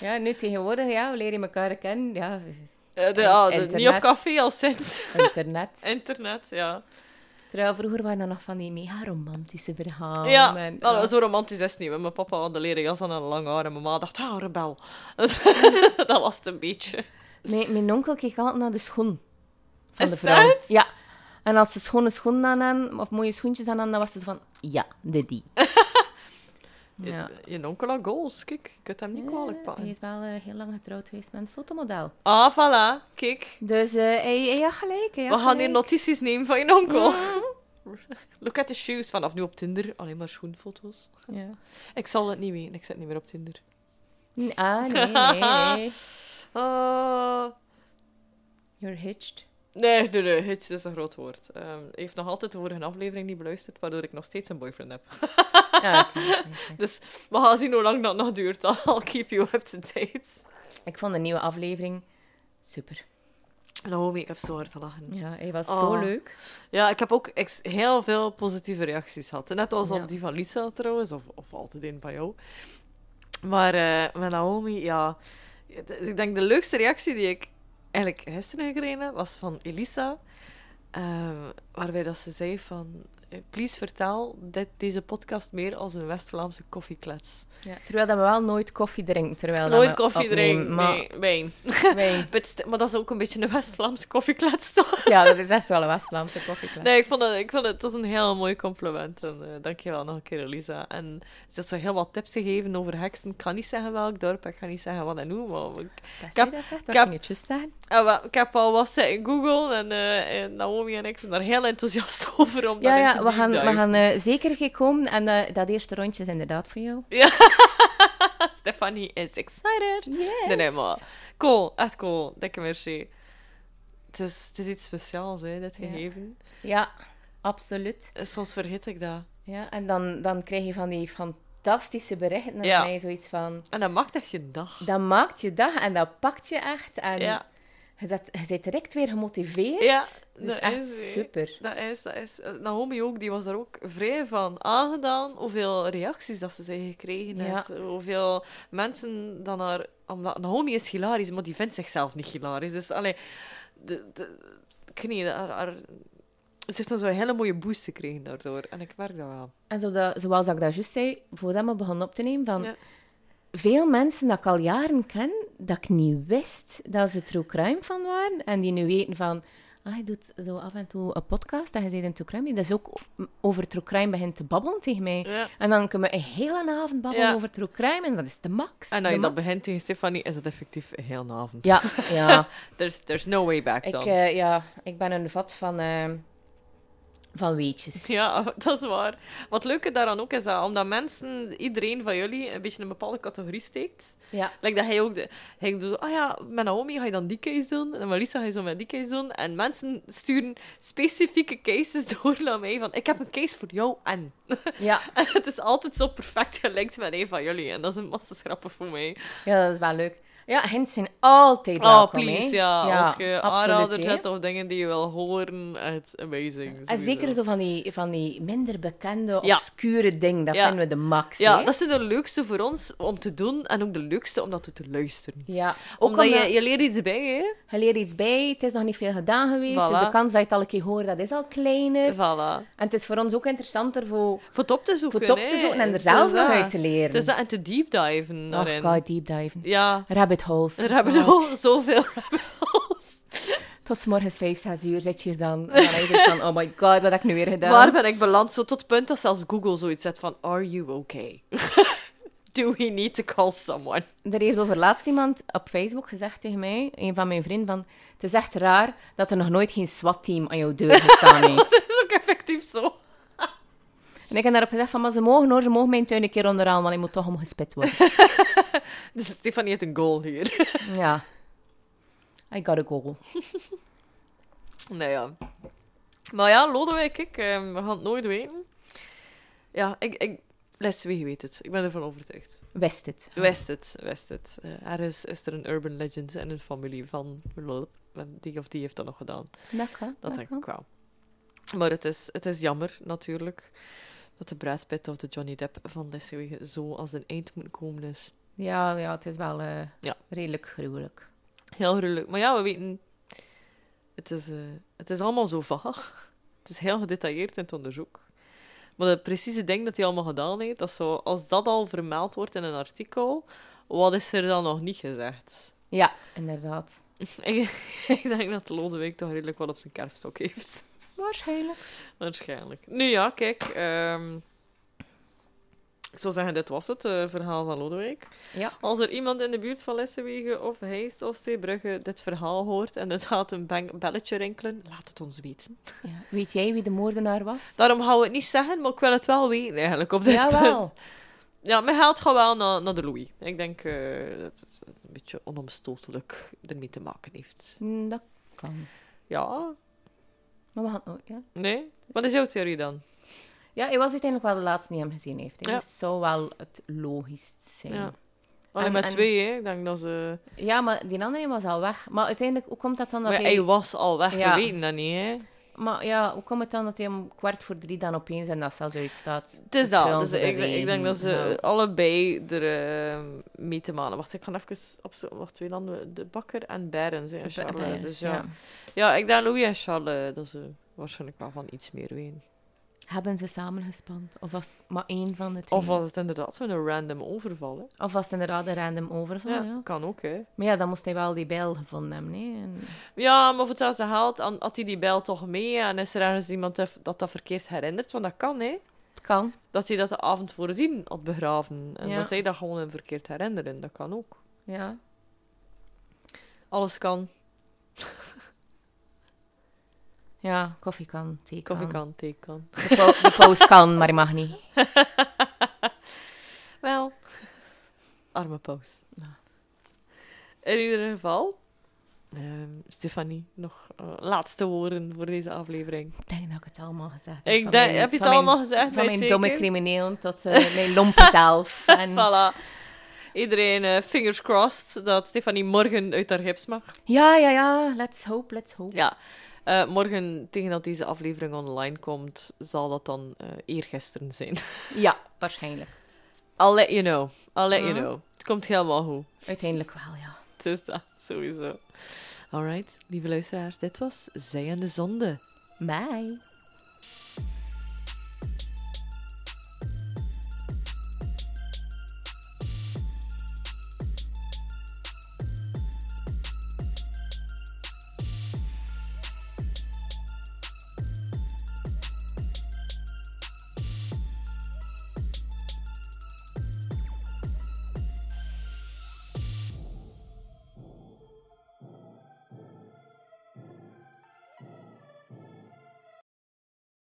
ja, nu tegenwoordig, ja, hoe leer je elkaar kennen? Ja,
Eh, de, ja, de-
internet.
niet op café al sinds.
internet.
Internet, ja.
Terwijl vroeger waren er nog van die mega romantische verhalen.
ja,
en-
nou,
oh.
zo romantisch is het niet. want Mijn papa had een leren jas aan en een lang haar. En mijn ma dacht, ah, rebel. dat was het een beetje.
mijn, mijn onkel keek altijd naar de schoen van
Is
de vrouw.
dat?
Ja. En als ze schone schoenen aan hadden, of mooie schoentjes aan hadden, dan was ze van, ja, de die. ja.
Je, je onkel had goals, kijk. Je kunt hem niet kwalijk
Hij
pakken.
is wel eh, heel lang getrouwd geweest met een fotomodel.
Ah, voilà. Kijk.
Dus eh hij, hij had gelijk. Hij had
We gaan hier
gelijk.
notities nemen van je onkel. Look at the shoes. Vanaf nu op Tinder. Alleen maar schoenfoto's.
Ja.
Ik zal het niet weten. Ik zit niet meer op Tinder.
N- Ah, nee, nee, nee.
Ah.
You're hitched.
Nee, nee, nee, hitch is een groot woord. Ehm, hij heeft nog altijd de vorige aflevering niet beluisterd, waardoor ik nog steeds een boyfriend heb.
Ah, oké, oké, oké.
Dus we gaan zien hoe lang dat nog duurt. I'll keep you up to date.
Ik vond de nieuwe aflevering super.
Naomi, ik heb zo hard gelachen.
Ja, hij was zo
Oh.
leuk.
Ja, ik heb ook ex- heel veel positieve reacties gehad. Net als
Ja.
op die van Lisa trouwens, of, of altijd een bij jou. Maar eh met Naomi, ja. het- Ik denk de leukste reactie die ik eigenlijk gisteren gekregen heb, was van Elisa. ehm, waarbij dat ze zei van... eh, Please vertel dit, deze podcast meer als een West-Vlaamse koffieklets.
Ja, terwijl dat we wel nooit koffie drinken. Terwijl dat
Nooit
we
koffie
opnemen,
drinken,
maar
nee, wijn.
wij-
But st- Maar dat is ook een beetje een West-Vlaamse koffieklets, toch?
Ja, dat is echt wel een West-Vlaamse koffieklap.
Nee, ik vond het, ik vond het, het was een heel mooi compliment. En eh dankjewel nog een keer, Elisa. En ze had zo heel wat tips gegeven over heksen. Ik kan niet zeggen welk dorp, ik kan niet zeggen wat en hoe, maar ik,
Dat
heb-
zei dat zegt,
ik
wat ging
heb-
het juist zeggen?
ah, wel, ik heb al wat zitten googlen en, eh, en Naomi en ik zijn daar heel enthousiast over. Om
Ja,
daarin
ja,
te
we gaan, we
deepdiven.
gaan eh, zeker gaan komen. En eh, dat eerste rondje is inderdaad voor jou.
Stefanie is excited.
Yes.
Nee, nee, maar cool, echt cool. Dikke merci. Het is, het is iets speciaals, hè, dit
Ja.
gegeven.
Ja, absoluut.
Eh, Soms vergeet ik dat.
Ja, en dan, dan krijg je van die fantastische berichten. En
Ja.
dan ben je zoiets van...
En dat maakt echt je dag.
Dat maakt je dag en dat pakt je echt. En
Ja.
je, zet, je bent direct weer gemotiveerd.
Ja,
dat is
dat
echt
is, hè.
super.
Dat is, dat is. eh, Naomi ook, die was daar ook vrij van aangedaan. Hoeveel reacties dat ze zijn gekregen.
Ja.
had. Hoeveel mensen dan haar... Omdat Naomi is hilarisch, maar die vindt zichzelf niet hilarisch. Dus, allee... De, de, ik weet niet, haar, haar- ze heeft dan zo'n hele mooie boost gekregen daardoor. En ik merk dat wel.
En zo dat, zoals ik dat juist zei, voordat we begonnen op te nemen, van
Ja.
veel mensen dat ik al jaren ken, dat ik niet wist dat ze true crime van waren, en die nu weten van, ah, je doet zo af en toe een podcast en je zit in true crime, dat is ook o- over true crime begint te babbelen tegen mij.
Ja.
En dan kunnen we een hele avond babbelen
Ja.
over true crime, en dat is de max.
En
de
als je dat
max.
begint tegen Stefanie, is het effectief heel een avond.
Ja, ja.
There's, there's no way back
ik,
dan.
eh, ja, ik ben een vat van, eh, van weetjes.
Ja, dat is waar. Wat leuke daaraan ook is dat, omdat mensen, iedereen van jullie, een beetje in een bepaalde categorie steekt.
Ja.
Like dat hij ook... De, hij doet zo, ah ja, met Naomi ga je dan die case doen. En Marisa ga je zo met die case doen. En mensen sturen specifieke cases door naar mij. Van, ik heb een case voor jou en...
Ja.
En het is altijd zo perfect gelinkt met een van jullie. En dat is een massa schrappen voor mij.
ja, dat is wel leuk. Ja, hints zijn altijd
Oh,
welkom,
please,
hè.
ja. Als je
absoluut,
aanraders
hè.
hebt of dingen die je wil horen, echt amazing.
En
sowieso.
zeker zo van die, van die minder bekende,
Ja.
obscure dingen, dat
Ja.
vinden we de max,
Ja,
hè.
dat zijn de leukste voor ons om te doen en ook de leukste om dat toe te luisteren.
Ja,
Ook
ook
omdat
omdat-
je, je leert iets bij, hè?
Je leert iets bij, het is nog niet veel gedaan geweest,
Voilà.
dus de kans dat je het al een keer hoort, dat is al kleiner.
Voilà.
En het is voor ons ook interessanter voor,
Voor het op te zoeken,
voor het op te
hè.
zoeken en er
Het
zelf
is
nog
dat.
uit te leren.
Het is dat en te deepdiven
oh
daarin.
god, deepdiven.
Ja,
Rabbit holes.
er hebben
God.
al zoveel rabbit holes.
Tot 's morgens 5, 6 uur zit je hier dan. En dan is het van, oh my god, wat heb ik nu weer gedaan?
Waar ben ik beland? Zo tot het punt dat zelfs Google zoiets zegt van... Are you okay? Do we need to call someone?
Er heeft over laatst iemand op Facebook gezegd tegen mij, een van mijn vrienden, van... Het is echt raar dat er nog nooit geen SWAT-team aan jouw deur gestaan
Dat
heeft.
is ook effectief zo.
en ik heb daarop gezegd van, maar ze mogen hoor, ze mogen mijn tuin een keer onderaan, want ik moet toch omgespit worden.
Dus Stefanie heeft een goal hier.
ja. I got a goal.
nou ja. Maar ja, Lodewijk, ik, ehm, we gaan het nooit weten. Ja, ik... ik Les wie weet het. Ik ben ervan overtuigd.
Wist het.
West het, west het. Eh, er is, is er een urban legend en een familie van lol, en die of die heeft dat nog gedaan.
Dat kan.
Dat
Dat,
denk
kan.
ik wel. Maar het is, het is jammer natuurlijk dat de Brad Pitt of de Johnny Depp van deze wegen zo als een eind moet komen is.
Ja, ja, het is wel eh,
Ja.
redelijk gruwelijk.
Heel gruwelijk. Maar ja, we weten, het is, eh, het is allemaal zo vaag. Het is heel gedetailleerd in het onderzoek. Maar de precieze ding dat hij allemaal gedaan heeft, dat is zo, als dat al vermeld wordt in een artikel, wat is er dan nog niet gezegd?
Ja, inderdaad.
Ik, ik denk dat Lodewijk toch redelijk wat op zijn kerfstok heeft.
Waarschijnlijk.
Waarschijnlijk. Nu ja, kijk. ehm, ik zou zeggen, dit was het eh, verhaal van Lodewijk.
Ja.
Als er iemand in de buurt van Lessewegen of Heist of Zeebrugge dit verhaal hoort en het gaat een bang- belletje rinkelen, laat het ons weten.
ja. Weet jij wie de moordenaar was?
Daarom gaan we het niet zeggen, maar ik wil het wel weten eigenlijk op dit punt.
Jawel.
Ja, mijn geld gaat wel naar, naar de Louis. Ik denk eh, dat het een beetje onomstotelijk ermee te maken heeft.
Mm, Dat kan.
Ja,
Maar we gaan het nooit, ja.
nee? Wat is jouw theorie dan?
Ja, hij was uiteindelijk wel de laatste die hem gezien heeft. hè.
Ja.
Dus zou wel het logischst zijn.
Ja.
Ja.
Alleen
En-
met
en-
twee, hè. Ik denk dat ze...
maar die andere was al weg. Maar uiteindelijk, hoe komt dat dan dat
Maar
hij...
hij was al weg,
Ja.
we weten dat niet, hè.
Maar ja, hoe komt het dan dat hij om kwart voor drie dan opeens en dat zelfs uit staat?
Het is dat. Dus
Verschillende
ik, ik denk dat ze
redenen. Ja.
allebei er eh, mee te maken... Wacht, ik ga even opzoeken. Wacht, twee landen. De Bakker en Berens, hè. en Charlotte.
Bij- bij-
dus ja.
ja.
ja. ik denk Louis en Charles, dat ze waarschijnlijk wel van iets meer weten.
Hebben ze samengespand? Of was het maar één van de twee?
Of was het inderdaad zo'n random overval, hè.
Of was het inderdaad een random overval,
Oh, Ja,
ja.
kan ook, hè.
Maar ja, dan moest hij wel die bijl gevonden hebben, nee. En...
Ja, maar voor hetzelfde geld an- had hij die bijl toch mee. En is er ergens iemand dat dat dat verkeerd herinnert? Want dat kan, hè.
Het kan.
dat hij dat de avond voordien had begraven. En
Ja.
dat zij dat gewoon een verkeerd herinneren. Dat kan ook.
Ja.
Alles kan.
Ja, koffie kan, thee kan.
Koffie kan, thee kan.
De, po- de post kan, maar die mag niet.
Wel. Arme paus. Nou.
Ja.
In ieder geval. ehm, Stefanie, nog eh, laatste woorden voor deze aflevering.
Ik denk dat ik het allemaal gezegd heb.
Ik
Van
denk-
mijn-
heb je het
van mijn-
allemaal gezegd?
Van
Weet
mijn
zeker?
domme crimineel tot eh, mijn lompe zelf. En...
Voilà. Iedereen, eh, fingers crossed dat Stefanie morgen uit haar gips mag.
Ja, ja, ja. Let's hope, let's hope.
Ja. Eh, morgen, tegen dat deze aflevering online komt, zal dat dan eh eergisteren zijn.
Ja, waarschijnlijk.
I'll let you know. I'll let you
Mhm.
know. Het komt helemaal goed.
Uiteindelijk wel, ja.
Het is Dus dat, sowieso. Alright, lieve luisteraars, dit was Zij en de Zonde.
Bye.